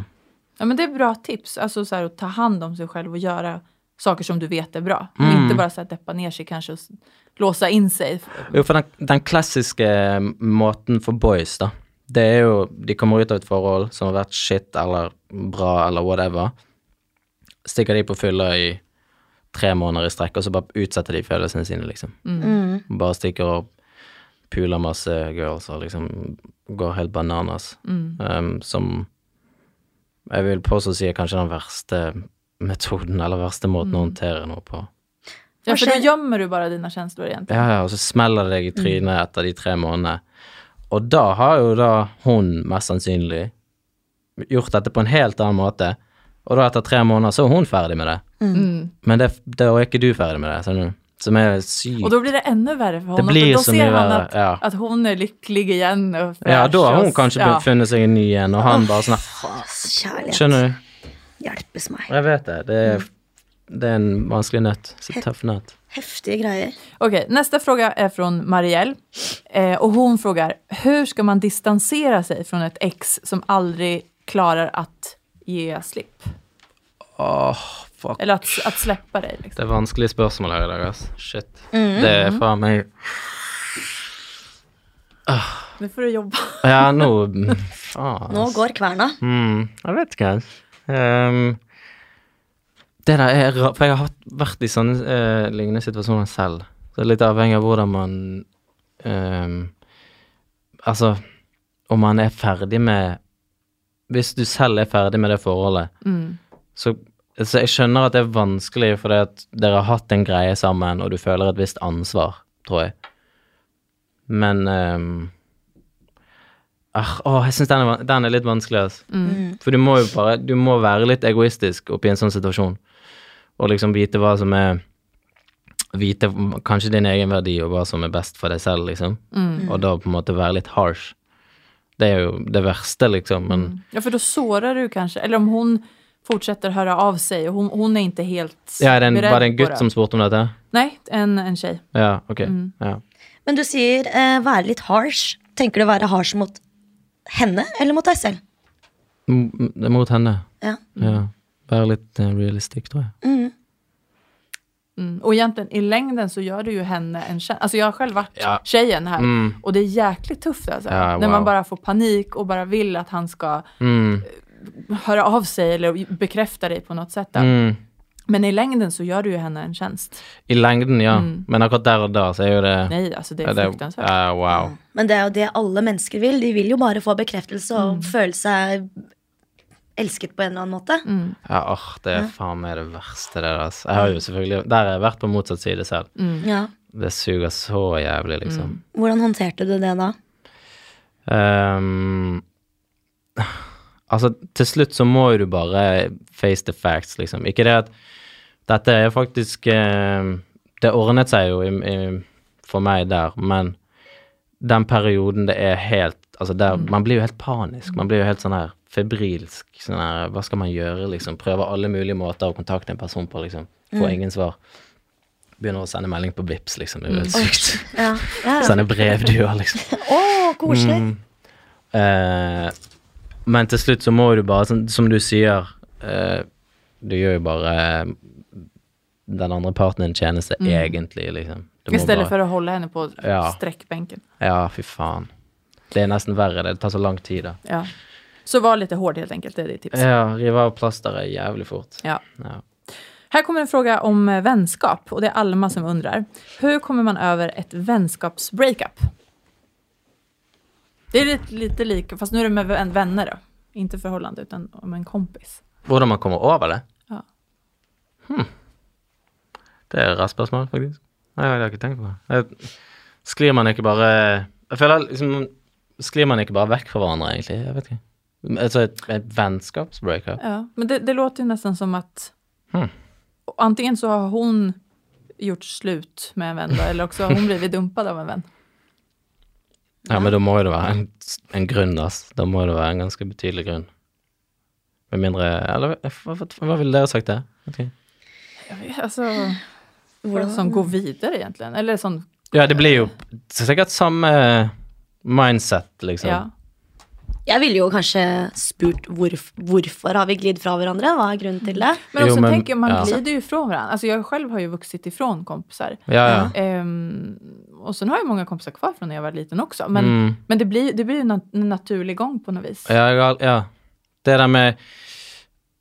Ja, men det är bra tips. Alltså så här, att ta hand om sig själv och göra saker som du vet är bra. Och Mm. Inte bara så här, deppa ner sig kanske och s- låsa in sig. Jo, for den, den klassiske eh, måten for boys, da, det er jo De kommer ut av et forhold som har vært shit eller bra eller whatever. Stikker de på fylla i tre måneder i strekk, og så bare utsetter de følelsene sine, liksom. Bare stikker og puler masse girls og liksom går helt bananas. Um, som jeg vil påstå sier kanskje den verste metoden, eller verste måten å håndtere noe på. Ja, Vad för då sker- gömmer du bara dina känslor egentligen. Ja, ja, og så smeller det deg i trynet etter de tre månedene. Og da har jo da hun mest sannsynlig gjort dette på en helt annen måte. Og da etter tre måneder så er hun ferdig med det. Mm. Men det, da er ikke du ferdig med det, skjønner du. Som er sykt. Och då blir det ännu värre för honom. blir för då så ser mye han verre, att, ja. att hon är lycklig igen. Och ja, da har fräsch hun och- kanskje ja. funnet seg en ny en, og han bare sånn Kjærlighet. Skjønner du? Hjelpes meg. Jeg vet det. Det er, det er en vanskelig nøtt. Så tøff nøtt. Heftige greier. Okej, nästa fråga är från Marielle. Eh, och hon frågar, hur ska man distansera sig från ett ex som aldrig klarar att ge slipp? Åh, fuck. Eller att, att släppa dig. Liksom. Det er vanskelige spørsmål her i dag, ass. Shit. Det er faen meg Nu får du jobba. Ja, nå Faen. Nå går kverna. Hmm, jeg vet ikke. Ehm, det der er rart, for jeg har hatt- vært i sånne eh, lignende situasjoner selv. Så det er litt avhengig av hvordan man ehm, Altså, om man er ferdig med Hvis du selv er ferdig med det forholdet, Mm. så, så jeg skjønner at det er vanskelig fordi at dere har hatt en greie sammen, og du føler et visst ansvar, tror jeg. Men ehm, ah, åh, Jeg syns den, er van- den er litt vanskelig, altså. Mm. For du må jo bare Du må være litt egoistisk oppi en sånn situasjon, og liksom vite hva som er Vite kanskje din egen verdi og hva som er best for deg selv, liksom. Og da på en måte være litt harsh. Det er jo det verste, liksom, men Ja, för då sårar du kanske. Eller om hon fortsätter höra av sig och hon, hon är inte helt Ja, er det en, beredd var det Mm. en på gutt som spurte om dette? Nej, en, en tjej. Ja, ok. Ja. Men du sier eh, være litt harsh. Tenker du å være harsh mot henne eller mot deg selv? M- m- Mot henne. Ja. Ja. Være litt eh, realistisk, tror jeg. Mm. Och egentligen i längden så gör du ju henne en tjänst. Alltså jag har själv varit Ja. tjejen här Mm. och det är jäkligt tufft alltså. Ja, När wow. man bara får panik och bara vill att han ska eh, Mm. höra av sig eller bekräfta dig på något sätt. Då. Mm. Men i längden så gör du ju henne en tjänst. I lengden, ja. Men akkurat der og da, så er jo det Nej, alltså det ja, är Mm. det- fruktansvärt. Ja, wow. Men det er jo det alle mennesker vil. De vil jo bare få bekreftelse Mm. og føle seg elsket på en eller annen måte. Ja, åh, det er faen meg det verste, det der. Altså. Jeg har jo selvfølgelig Der har jeg vært på motsatt side selv. Ja. Det suger så jævlig, liksom. Hvordan håndterte du det da? Ehm, altså, til slutt så må jo du bare face the facts, liksom. Ikke det at dette er faktisk eh, Det ordnet seg jo i, i, for meg der, men den perioden det er helt Altså, der, man blir jo helt panisk. Man blir jo helt sånn her febrilsk. Sånn her Hva skal man gjøre, liksom? Prøver alle mulige måter å kontakte en person på, liksom. Får ingen svar. Begynner å sende melding på Vipps, liksom. Det er jo helt sykt. Ja. Ja. ja. Sende brevduer, liksom. Å, koselig. Mm. Eh, men til slutt så må du bare, sånn, som du sier eh, Du gjør jo bare eh, den andre parten en tjeneste, egentlig, liksom. Du må Istället bare, för att hålla henne på Ja. sträckbänken. Ja, fy faen. Det er nesten verre. Det tar så lang tid, da. Ja. Så var lite hård helt enkelt, det är ditt tips. Ja, rive av plasteret jævlig fort. Ja. Ja. Här kommer en fråga om eh, vänskap och det är Alma som undrar. Hur kommer man över ett vänskapsbreakup? Det är lite, lite lika, fast nu är det med vän- vänner då. Inte förhållande, utan om en kompis. Hvordan man kommer over det? Hmm. Ja. Det er et rart spørsmål, faktisk. Nei, jeg har ikke tenkt på det. Jeg- Sklir man ikke bare Jeg føler liksom Sklir man ikke bare vekk fra hverandre, egentlig? Jeg vet ikke. Altså et, et vennskapsbreakup? Ja, men det, det låter ju nästan som att Hmm. och antingen så har hon gjort slut med en vän då, eller också har hon blivit dumpad av en vän. Ja, men da må jo det være en, en grunn, ass. Da må det være en ganske betydelig grunn. Med mindre Eller hva, hva, hva ville dere sagt det? Vet ikke. Jag vet, Alltså, folk som går vidare egentligen. Eller som, Ja, det blir jo sikkert samme mindset, liksom. ja. Jeg ville jo kanskje spurt hvorf hvorfor har vi glidd fra hverandre. Hva er grunnen til det? Men Jo, också men- tänker jag, man ja. glider ju ifrån varandra. Alltså jag själv har ju vuxit ifrån kompisar. ja. ja. Ehm, och sen har jag många kompisar kvar från när jag var liten också. Men, Mm. men det blir ju det blir ju en nat- en naturlig gång på något vis. Ja, jeg har, ja. Det der med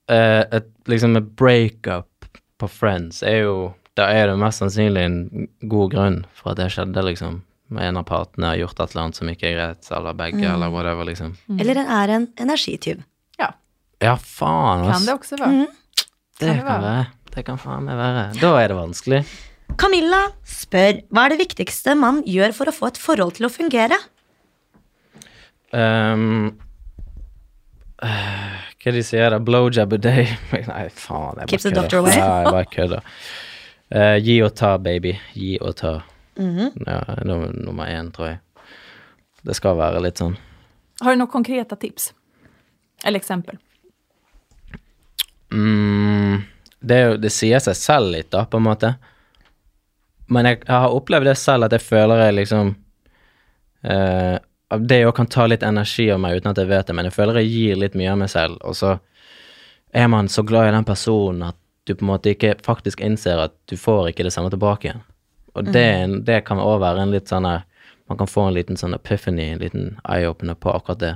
eh, et, liksom et breakup på Friends er jo Da er det mest sannsynlig en god grunn for at det skjedde, liksom. En av partene har gjort et eller annet som ikke er greit, eller begge, Mm. eller whatever, liksom. Eller en er en energityv? Ja, Ja, faen, kan ass. det også vara. det kan det kan være? være. Det kan faen meg være. Da er det vanskelig. Camilla spør hva er det viktigste man gjør for å få et forhold til å fungere? Ehm, eh, hva de sier der? Blowjob a day. Nei, faen. Jeg bare Keeps the kødder. doctor away. Ja, jeg bare kødder. Eh, gi og ta, baby. Gi og ta. Mm-hmm. Ja, num- nummer én, tror jeg. Det skal være litt sånn. Har du några konkreta tips? Eller exempel? Mm, det, er jo, det sier seg selv litt, da, på en måte. Men jeg, jeg har opplevd det selv, at jeg føler jeg liksom eh, at Det jo kan ta litt energi av meg uten at jeg vet det, men jeg føler jeg gir litt mye av meg selv, og så er man så glad i den personen at du på en måte ikke faktisk innser at du får ikke det samme tilbake igjen. Og det, er en- det kan òg være en litt sånn her Man kan få en liten sånn epiphany, en liten eye-opener på akkurat det.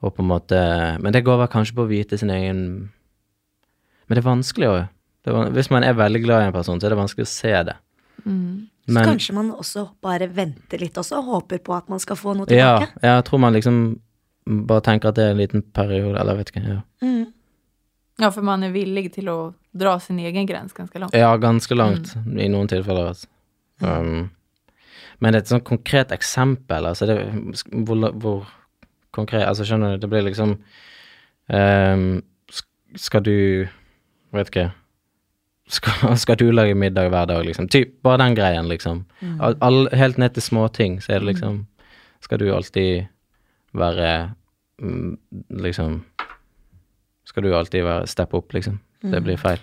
Og på en måte Men det går vel kanskje på å vite sin egen men det er vanskelig å det er, van- Hvis man er veldig glad i en person, så er det vanskelig å se det. Så Men kanskje man også bare venter litt også, og håper på at man skal få noe ja, tilbake. jeg tror man liksom bare tenker at det er en liten periode, eller jeg vet ikke. Ja, Mm. Ja, för man är villig till att dra sin egen gräns ganska långt. ja ganske langt i noen tilfeller. Altså. Um, men et sånn konkret eksempel, altså det, hvor, la- hvor konkret Altså, skjønner du, det blir liksom um, sk- Skal du Vet ikke. Skal, skal du lage middag hver dag, liksom? Typ, bare den greien, liksom. Al- all, helt ned til småting, så er det liksom Skal du alltid være mm, Liksom Skal du alltid være steppe opp, liksom? Det blir feil.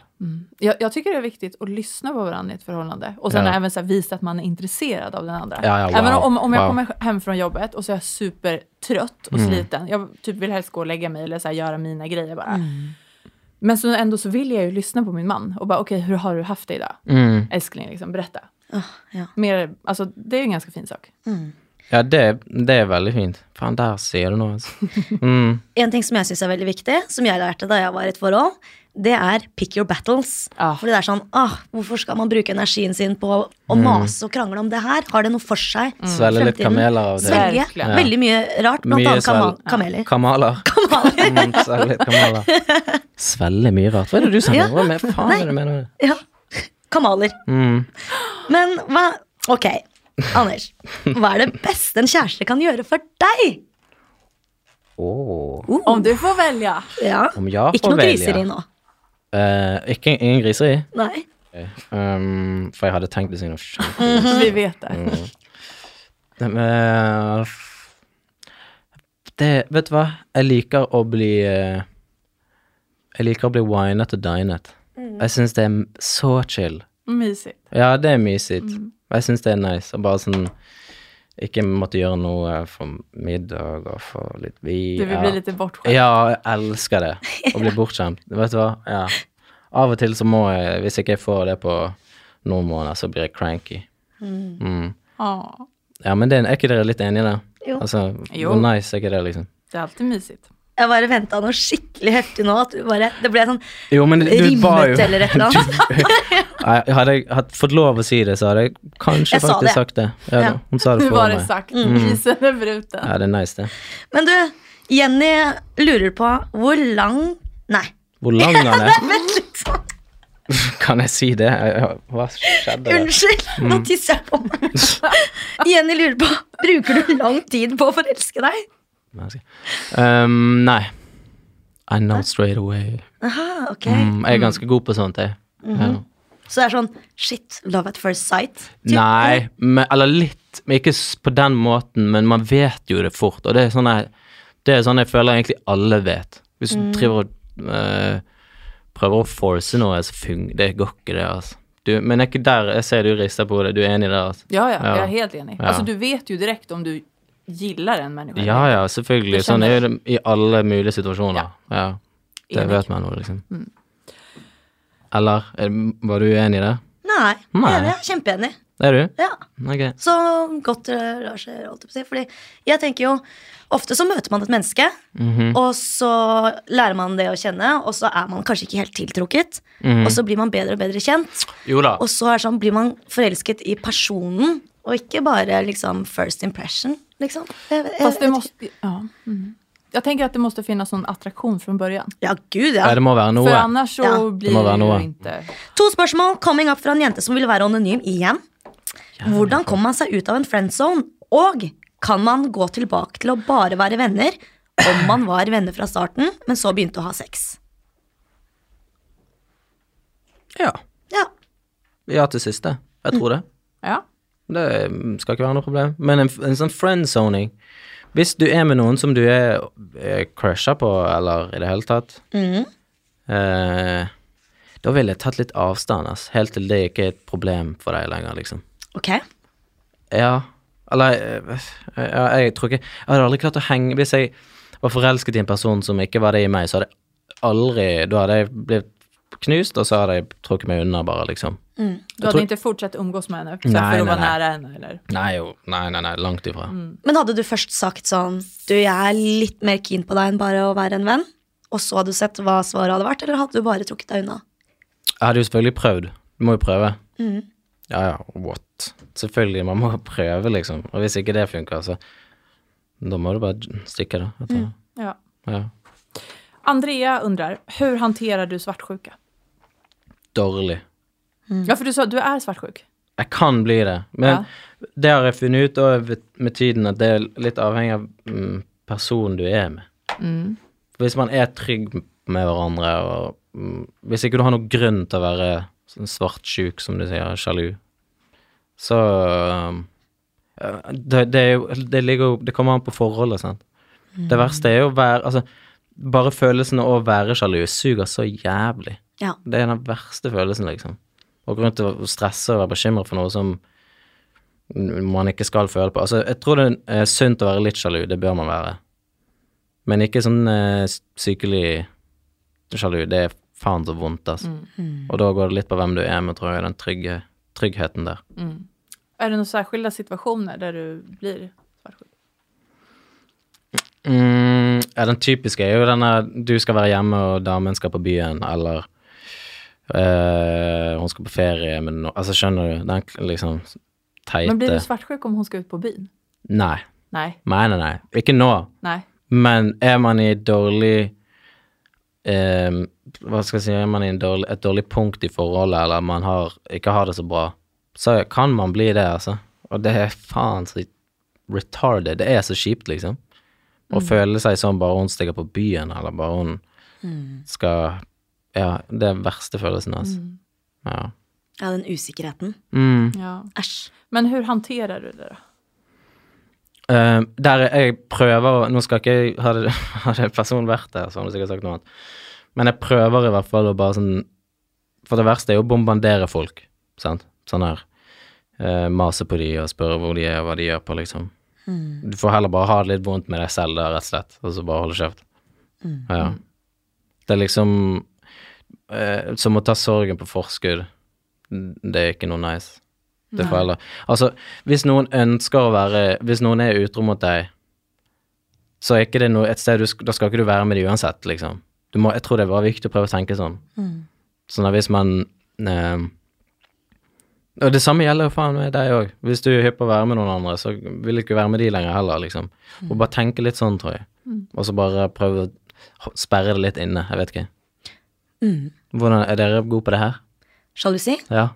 Jag, jag tycker det är viktigt att lyssna på varandra i ett förhållande. Och sen Ja. även så här, visa att man är intresserad av den andra. Ja, ja, wow. Även om, om jag Wow. Mm. kommer hem från jobbet och så är jag supertrött och sliten. Jag typ vill helst gå och lägga mig eller så här, göra mina grejer bara. Mm. Men så ändå så vill jag ju lyssna på min man och bara okej, hur har du haft det idag? Mm. Älskling, liksom, berätta. Åh, ja. Mer, alltså, det är en ganska fin sak. Ja, det, det er veldig fint. Faen, der sier du noe, altså. Mm. En ting som jeg syns er veldig viktig, som jeg lærte da jeg var i et forhold, det er pick your battles. Ja. Fordi det er sånn, ah, hvorfor skal man bruke energien sin på å mase og krangle om det her? Har det noe for seg? i Mm. Svelge litt fremtiden? kameler av det. Svelge. Verkligen. Veldig mye rart, blant Mye annet kamal svelg. kameler. Kamaler. Mm, Svelge litt kamaler. Svelge mye rart. Hva er det du som Ja. driver med? Faen, hva er det du mener med det? Ja. Kamaler. Mm. Men hva Ok, Anders. Hva er det beste en kjæreste kan gjøre for deg? Åh. Om du får välja. Ja. Om jeg Ikke får noe velge. griseri nå. Eh, ikke, ingen griseri. Nei. Um, for jeg hadde tenkt det siden jeg var sjuk. Vi vet det. Mm-hmm. Det med- eh, Det Vet du hva? Jeg liker å bli eh, Jeg liker å bli winet og dinet. Jeg syns det er m- så chill. Mysigt. Ja, det er mysigt. Mm. Jeg syns det er nice. Og bare sånn Ikke måtte gjøre noe for middag og for litt vin. Du vill bli lite bortskämd. Ja, jeg elsker det. Å bli bortskjemt. Vet du hva? Ja. Av og til så må jeg, hvis ikke jeg får det på noen måneder, så blir jeg cranky. Mm. Ja. Ja, men det, er ikke dere litt enige i det? Jo. Altså, Jo. hvor nice er ikke det, liksom? Det är alltid mysigt. Jeg bare venta noe skikkelig heftig nå. At du bare, det ble sånn Jo, men du ba jo rimmet eller et eller annet. Nei, Hadde jeg hatt- fått lov å si det, så hadde jeg kanskje Jeg sa faktisk det. sagt det. Ja, Ja. Hun sa det Mm. Nu for var meg. det sagt. Isen är bruten. Ja, det er nice, det. Men du, Jenny lurer på hvor lang Nei. Hvor lang han er? Vent litt. sånn. Kan jeg si det? Jeg- jeg- Hva skjedde der? Unnskyld, nå Mm. tisser jeg på meg. Jenny lurer på bruker du lang tid på å forelske deg. Menneske. Um, nei. I know straight away. Aha, Ah, ok. Mhm. Mm, jeg er ganske god på sånt, jeg. ja. Så det er sånn shit, love at first sight. Typ. Nei, men, eller litt. Men ikke s- på den måten, men man vet jo det fort. Og det er sånn jeg, det er sånn jeg føler egentlig alle vet. Hvis Mm. du driver og eh, prøver å force noe, så fung, det går ikke det, altså. Du, men jeg er ikke der. Jeg ser du rister på det. Du er enig der, altså? Ja, ja, Ja. jag är helt enig. Ja. Alltså, du vet ju direkt om du gillar en människa. Ja, ja, selvfølgelig. Du Sånn kjenner er det i alle mulige situasjoner. Ja. Det Enig. vet man nå, liksom. Eller er, var du uenig i det? Nei, Nei. Enig, jeg er kjempeenig. Er du? Ja. Ok. Så godt det lar seg, holdt jeg på å si. Fordi jeg tenker jo Ofte så møter man et menneske, og så lærer man det å kjenne, og så er man kanskje ikke helt tiltrukket, og så blir man bedre og bedre kjent. Jo da. Og så er det sånn, blir man forelsket i personen, og ikke bare liksom first impression, liksom. Jeg, jeg, Fast det jeg- måste... Ja. Mm. Jag tänker att det måste finnas någon attraktion från början. Ja, gud, Ja, ja. det må være För noe. annars så Ja. blir Det må vara det Noah. ju inte... To spørsmål coming up fra en jente som ville være anonym igjen. Hvordan kommer man seg ut av en friendzone? Og kan man gå tilbake til å bare være venner om man var venner fra starten, men så begynte å ha sex? Ja. Ja. Ja til siste. Jeg tror det. Ja. Det mm, skal ikke være noe problem. Men en, en sånn friendzoning Hvis du er med noen som du er, er crusha på, eller i det hele tatt Mm. eh, Da ville jeg tatt litt avstand, ass. Helt til det ikke er et problem for deg lenger, liksom. Ok. Ja. Eller eh, ja, Jeg tror ikke Jeg hadde aldri klart å henge Hvis jeg var forelsket i en person som ikke var det i meg, så hadde jeg aldri Da hadde jeg blitt knust, og så hadde jeg trukket meg unna, bare, liksom. Du hade inte fortsatt umgås med henne för Nej, att nej, vara nej. nära henne eller? Nei, jo. Nei, nei, nei. Langt ifra. Men hadde du først sagt sånn Du, jeg er litt mer keen på deg enn bare å være en venn? Og så hadde du sett hva svaret hadde vært, eller hadde du bare trukket deg unna? Jeg hadde jo selvfølgelig prøvd. Du må jo prøve. Mhm. Ja, ja, what? Selvfølgelig, man må prøve, liksom. Og hvis ikke det funker, så Da må du bare stikke, da. Etter. Ja. Ja. Andrea undrar, hur hanterar du svartsjuka? Dårlig. Ja, för du sa att du är svartsjuk. Jeg kan bli det, men det har jeg funnet ut og vet- med tiden at det er litt avhengig av mm, personen du er med. Hvis man er trygg med hverandre og mm, Hvis ikke du har noen grunn til å være sånn svartsjuk, som du sier, sjalu, så um, eh, det, det, er jo, det ligger jo Det kommer an på forholdet, sant. Det verste er jo å være Altså, bare følelsen av å være sjalu suger så jævlig. Ja. Det er den verste følelsen, liksom. Å gå rundt og stresse og være bekymra for noe som man ikke skal føle på. Altså, jeg tror det er sunt å være litt sjalu, det bør man være. Men ikke sånn eh, sykelig sjalu. Det er faen så vondt, altså. Mm. Og da går det litt på hvem du er med, tror jeg, den trygge, tryggheten der. Är det några särskilda situationer där du blir svartsjuk? Mm, ja, den typiske er jo denne du skal være hjemme, og damen skal på byen, eller eh, hun skal på ferie, men nå- Altså, skjønner du? Den k- liksom teite Men blir du svartsjuk om hon ska ut på byn? Nei. Nej, Nei, nei, nei. Ikke nå. nej. Men er man i dårlig eh, Hva skal jeg si Er man i en dårlig, et dårlig punkt i forholdet, eller man har, ikke har det så bra, så kan man bli det, altså. Og det er faen så retarded. Det er så kjipt, liksom. Å føle seg sånn bare hun stikker på byen, eller bare hun skal Ja, det er den verste følelsen, altså. Ja. Ja, den usikkerheten. Mm. Ja. Æsj. Men hur hanterar du det då? Eh, der jeg prøver å- Nå skal ikke jeg Hadde, hadde personen vært der, så hadde hun sikkert sagt noe annet. Men jeg prøver i hvert fall å bare sånn For det verste er jo å bombardere folk. Sant? Sånn her. Eh, mase på de og spørre hvor de er, og hva de gjør på, liksom. Mm. Du får heller bare ha det litt vondt med deg selv, da, rett og slett, og så bare holde kjeft. Ja. Det er liksom eh, Som å ta sorgen på forskudd. Det er ikke noe nice. Det får heller Altså, hvis noen ønsker å være Hvis noen er utro mot deg, så er ikke det noe et sted du sk- Da skal ikke du være med dem uansett, liksom. Du må, jeg tror det er bare viktig å prøve å tenke sånn. Sånn at hvis man eh, Og det samme gjelder jo faen meg deg òg. Hvis du er hypp på å være med noen andre, så vil du ikke være med de lenger heller, liksom. Mm. Og bare tenke litt sånn, tror jeg. Og så bare prøve å ho- sperre det litt inne. Jeg vet ikke. Mm. Hvordan, er dere gode på det her? Sjalusi? Ja.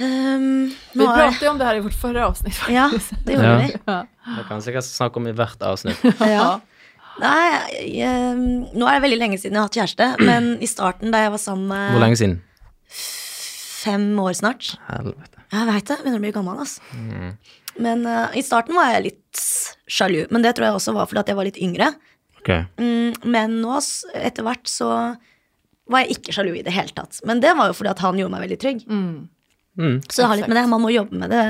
Um, Vi nå er pratade ju om det här i vårt förra avsnitt Ja, faktiskt. det gjorde Ja. vi. Ja. Det kan jeg sikkert snakke om i hvert avsnitt. Ja. Nei, jeg, eh, nå er det veldig lenge siden jeg har hatt kjæreste, men i starten da jeg var sammen med Hvor lenge siden? fem år snart Helvete. Jeg veit det, begynner å bli gammel, altså. Mm. Men eh, i starten var jeg litt sjalu, men det tror jeg også var fordi at jeg var litt yngre. Ok. Mm, men nå, s- etter hvert, så var jeg ikke sjalu i det hele tatt. Men det var jo fordi at han gjorde meg veldig trygg. Mm. Mm. Så det har litt med det, man må jobbe med det,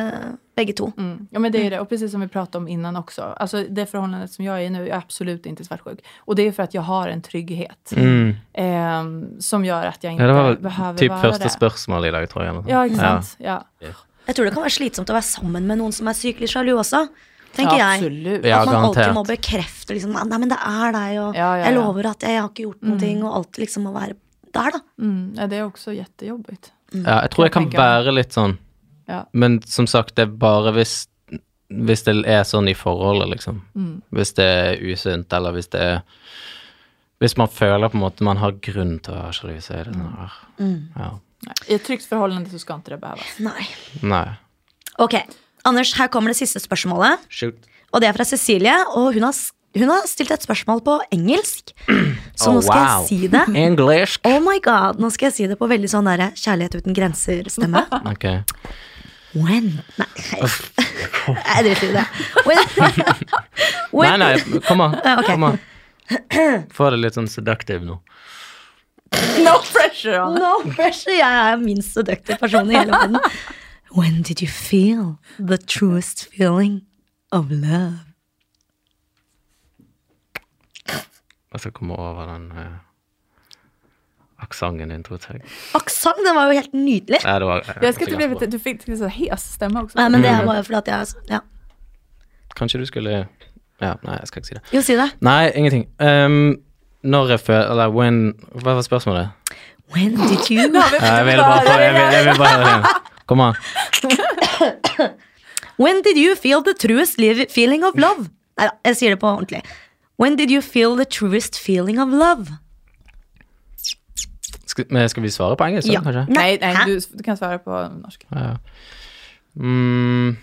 begge to. Mm. Ja men det är det, och precis som vi pratade om innan också. Alltså det förhållandet som jag är i nu, jag är absolut inte svartsjuk. Och det är för att jag har en trygghet ehm, som gör att jag inte Mm. Ja, det var vel behöver typ vara første det. spørsmål i dag, tror jeg. eller noe sånt. Ja, exakt. Ja. Jeg tror det kan være slitsomt å være sammen med noen som er sykelig sjalu også, Ja. tenker jeg. absolut. Ja, at man garantert. alltid må bekrefte liksom, Nei, men det er deg, og Ja, ja, jeg ja. lover at jeg har ikke gjort Mm. noen ting, og alltid liksom må være der, da. Mm. Ja, det är också jättejobbigt. Ja, jeg tror jeg kan tenker jeg. være litt sånn, Ja. men som sagt, det er bare hvis hvis det er sånn i forholdet, liksom. Hvis det er usunt, eller hvis det er Hvis man føler på en måte man har grunn til å være sjalu, så er det sånn ah, Ja. Mm. Nej. I ett tryggt förhållande så ska inte det behövas. Nei. Nei. Ok, Anders, her kommer det siste spørsmålet. Shoot. Og det er fra Cecilie, og hun har, s- hun har stilt et spørsmål på engelsk. Så Oh, nå skal wow. jeg si det. English. Oh my god, nå skal jeg si det på veldig sånn derre kjærlighet uten grenser-stemme. Ok. When Nei, jeg driter i det. When, Nei, when, nei, kom an. Ja, ok. Kom an. Få det litt sånn seductive nå. No pressure on it. No pressure, jeg er minst seductive person i hele verden. When did you feel the truest feeling of love? Jeg skal komme over den uh, aksenten din, tror jeg. Aksent, den var jo helt nydelig. Nei, det var, eh, Jag älskar att ganske du, blev, bra. lite- du fick till så här hes stämma också. Nei, men det var jo fordi at jeg sånn, ja. Kanskje du skulle Ja, nei, jeg skal ikke si det. Jo, si det. Nei, ingenting. Um, når jeg føler Eller when Hva var spørsmålet? Eh, When did you Nu har vi fått Jeg vil höra bare få det jeg vil, jeg vil bare høre det. Kom an. When did you feel the truest liv- feeling of love? Nei da, jeg sier det på ordentlig. When did you feel the truest feeling of love? Skal, men skal vi svare på engelsk? Ja. Sånn, Kanskje? Nej, nej, Hæ? du, du kan svara på norska. Ja, ja. Mm.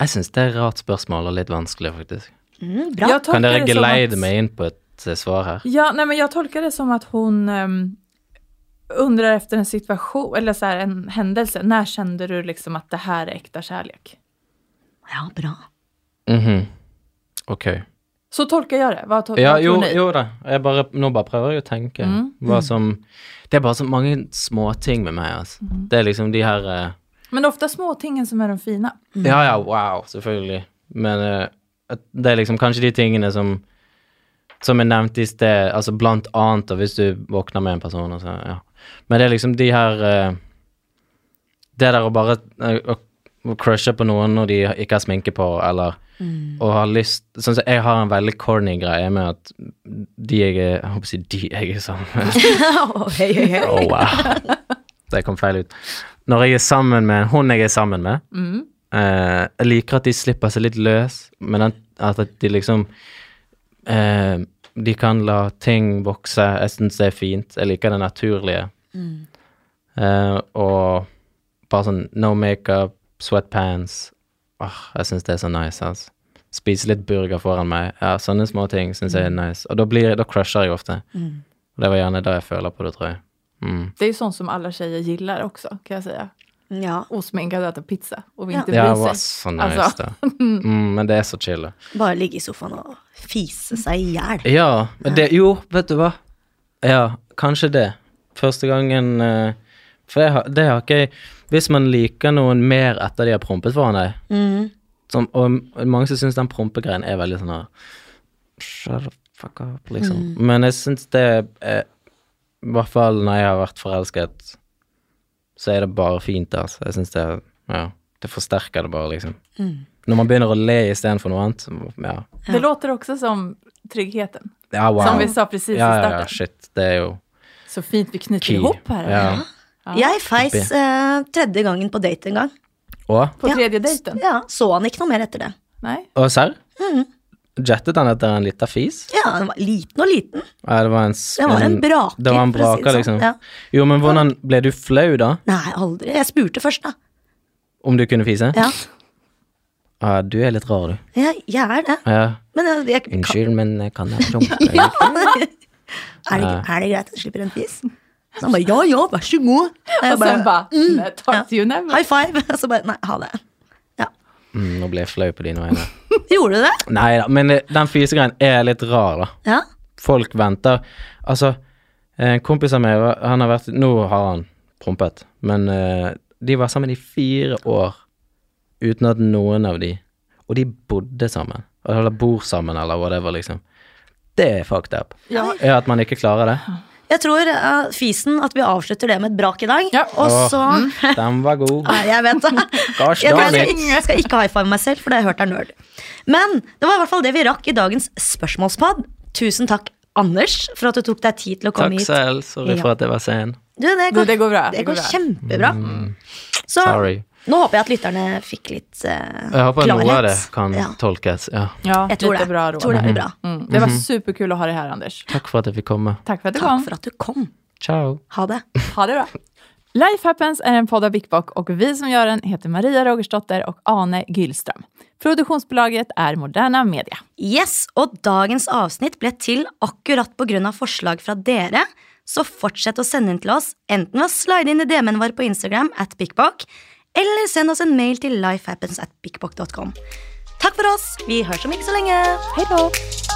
Jeg syns det er et rart spørsmål og litt vanskelig, faktisk. Mm, bra. Jag Kan tolkar dere det som geleide att- meg inn på et eh, svar her? Ja, nej, men jag tolkar det som att hon ehm, undrar efter en situation, eller så här, en händelse. När kände du liksom att det här är äkta kärlek? Ja, bra. Mhm. Ok. Så tolkar jag det. Vad, to- Ja, vad jo, tror ni? jo da. Jeg bare, nå bare prøver jeg å tenke. Mm. Hva som Det er bare så mange småting med meg, altså. Mhm. Det er liksom de her eh, Men ofta småtingen som är de fina. Ja, ja, wow, selvfølgelig. Men eh, at det er liksom kanskje de tingene som Som jeg nevnte i sted, altså blant annet, og hvis du våkner med en person og så, ja. Men det er liksom de her eh, Det der å bare eh, å, å crushe på noen når de ikke har sminke på, eller å ha lyst Sånn som jeg har en veldig corny greie med at de jeg er Jeg håper å si de jeg er sammen med Oi, oi, oi. Oh, wow. Det kom feil ut. Når jeg er sammen med en hund jeg er sammen med, eh, jeg liker at de slipper seg litt løs, men at, at de liksom eh, De kan la ting vokse. Jeg syns det er fint. Jeg liker det naturlige. Eh, og bare sånn no makeup, sweatpants Åh, Jeg syns det er så nice, altså. Spise litt burger foran meg. Ja, Sånne små ting syns jeg er nice. Og da, blir, da crusher jeg ofte. Og det var gjerne da jeg føler på det, tror jeg. Mm. Det är ju sånt som alla tjejer gillar också, kan jag säga. Ja, Osminkad äta pizza och inte Ja, det bry var sig. så nice, Alltså. det. Mm, men det er så chill. det. bare ligge i sofaen og fise seg i hjel. Ja, men det Jo, vet du hva? Ja, kanskje det. Første gangen eh, For jeg har, det har ikke jeg Hvis man liker noen mer etter de har prompet foran deg Mm. som, Og og mange som syns den prompegreien er veldig sånn her Shut the fuck up, liksom. Mm. Men jeg syns det er I hvert fall når jeg har vært forelsket, så er det bare fint, altså. Jeg syns det Ja. Det forsterker det bare, liksom. Mm. Når man begynner å le istedenfor noe annet, så- ja. Det låter också som tryggheten. Ja, wow. Som vi sa precis ja, i ja, starten. ja, shit. Det er jo Så fint vi knyter key. ihop här. Ja. Jeg feis eh, tredje gangen på date en gang. Og, På Ja. tredje dejten. Ja, Så han ikke noe mer etter det. Nej. og serr? Mm. Jettet han etter en liten fis? Ja, Han var liten og liten. Ja, det var en, s- Det var en braker, Det var en for å si det braker, sånn, liksom. ja. Jo, men hvordan ble du flau, da? Nei, aldri. Jeg spurte først, da. Om du kunne fise? Ja, Ja, du er litt rar, du. jeg, jeg er det. Ja. Men eh, jeg, jeg, kan, Unnskyld, men jeg kan jeg prompe? Ja. Er det, er det greit at jeg slipper en fis? Så han bare ja, ja, vær så god. Og jeg Och sen bara, mm, talk to you never. high five. Og så bare nei, ha det. Ja. Mm, nå ble jeg flau på dine vegne. Gjorde du det? Nei da, men eh, den fisegreien er litt rar, da. Ja. folk venter. Altså, en kompis av meg, han har vært Nå har han prompet, men eh, de var sammen i fire år uten at noen av de Og de bodde sammen. Eller bor sammen, eller whatever, liksom. Det er fucked up. Ja. Er at man ikke klarer det. Jeg tror eh, fisen at vi avslutter det med et brak i dag. Ja. Mm. Og så Den var god. Nei, jeg vet det. Gosh Jeg, darn jeg, it. jeg skal ikke high five meg selv, for det har jeg hørt er nerd. Men det var i hvert fall det vi rakk i dagens spørsmålspod. Tusen takk, Anders, for at du tok deg tid til å komme Takk hit. selv. Sorry Ja. for at jeg var sen. Du, det Du, går, det går bra. Det Det går går bra. kjempebra. Så Mm. Sorry. nå håper jeg at lytterne fikk litt eh, Jeg håper klarhet. noe av det kan Ja, tolkes. Ja. Ja, jeg tror lite det. bra råd. tror det blir bra. Mm. Det var Mm-hmm. superkul att ha dig här Anders. Takk for at jeg fikk komme. Tack för att du Takk kom. for at du kom. Ciao. Ha det. Ha det bra. Life Happens är en podd av BikBok och vi som gör den heter Maria Rogersdotter och Ane Gylström. Produktionsbolaget är Moderna Media. Yes, og dagens avsnitt ble til akkurat pga. forslag fra dere. Så fortsett å sende inn til oss, enten ved å slide inn i DM-en vår på Instagram at BikBok, eller send oss en mail til lifehappens at bikbok.com. Takk for oss, vi høres om ikke så lenge. Hej då!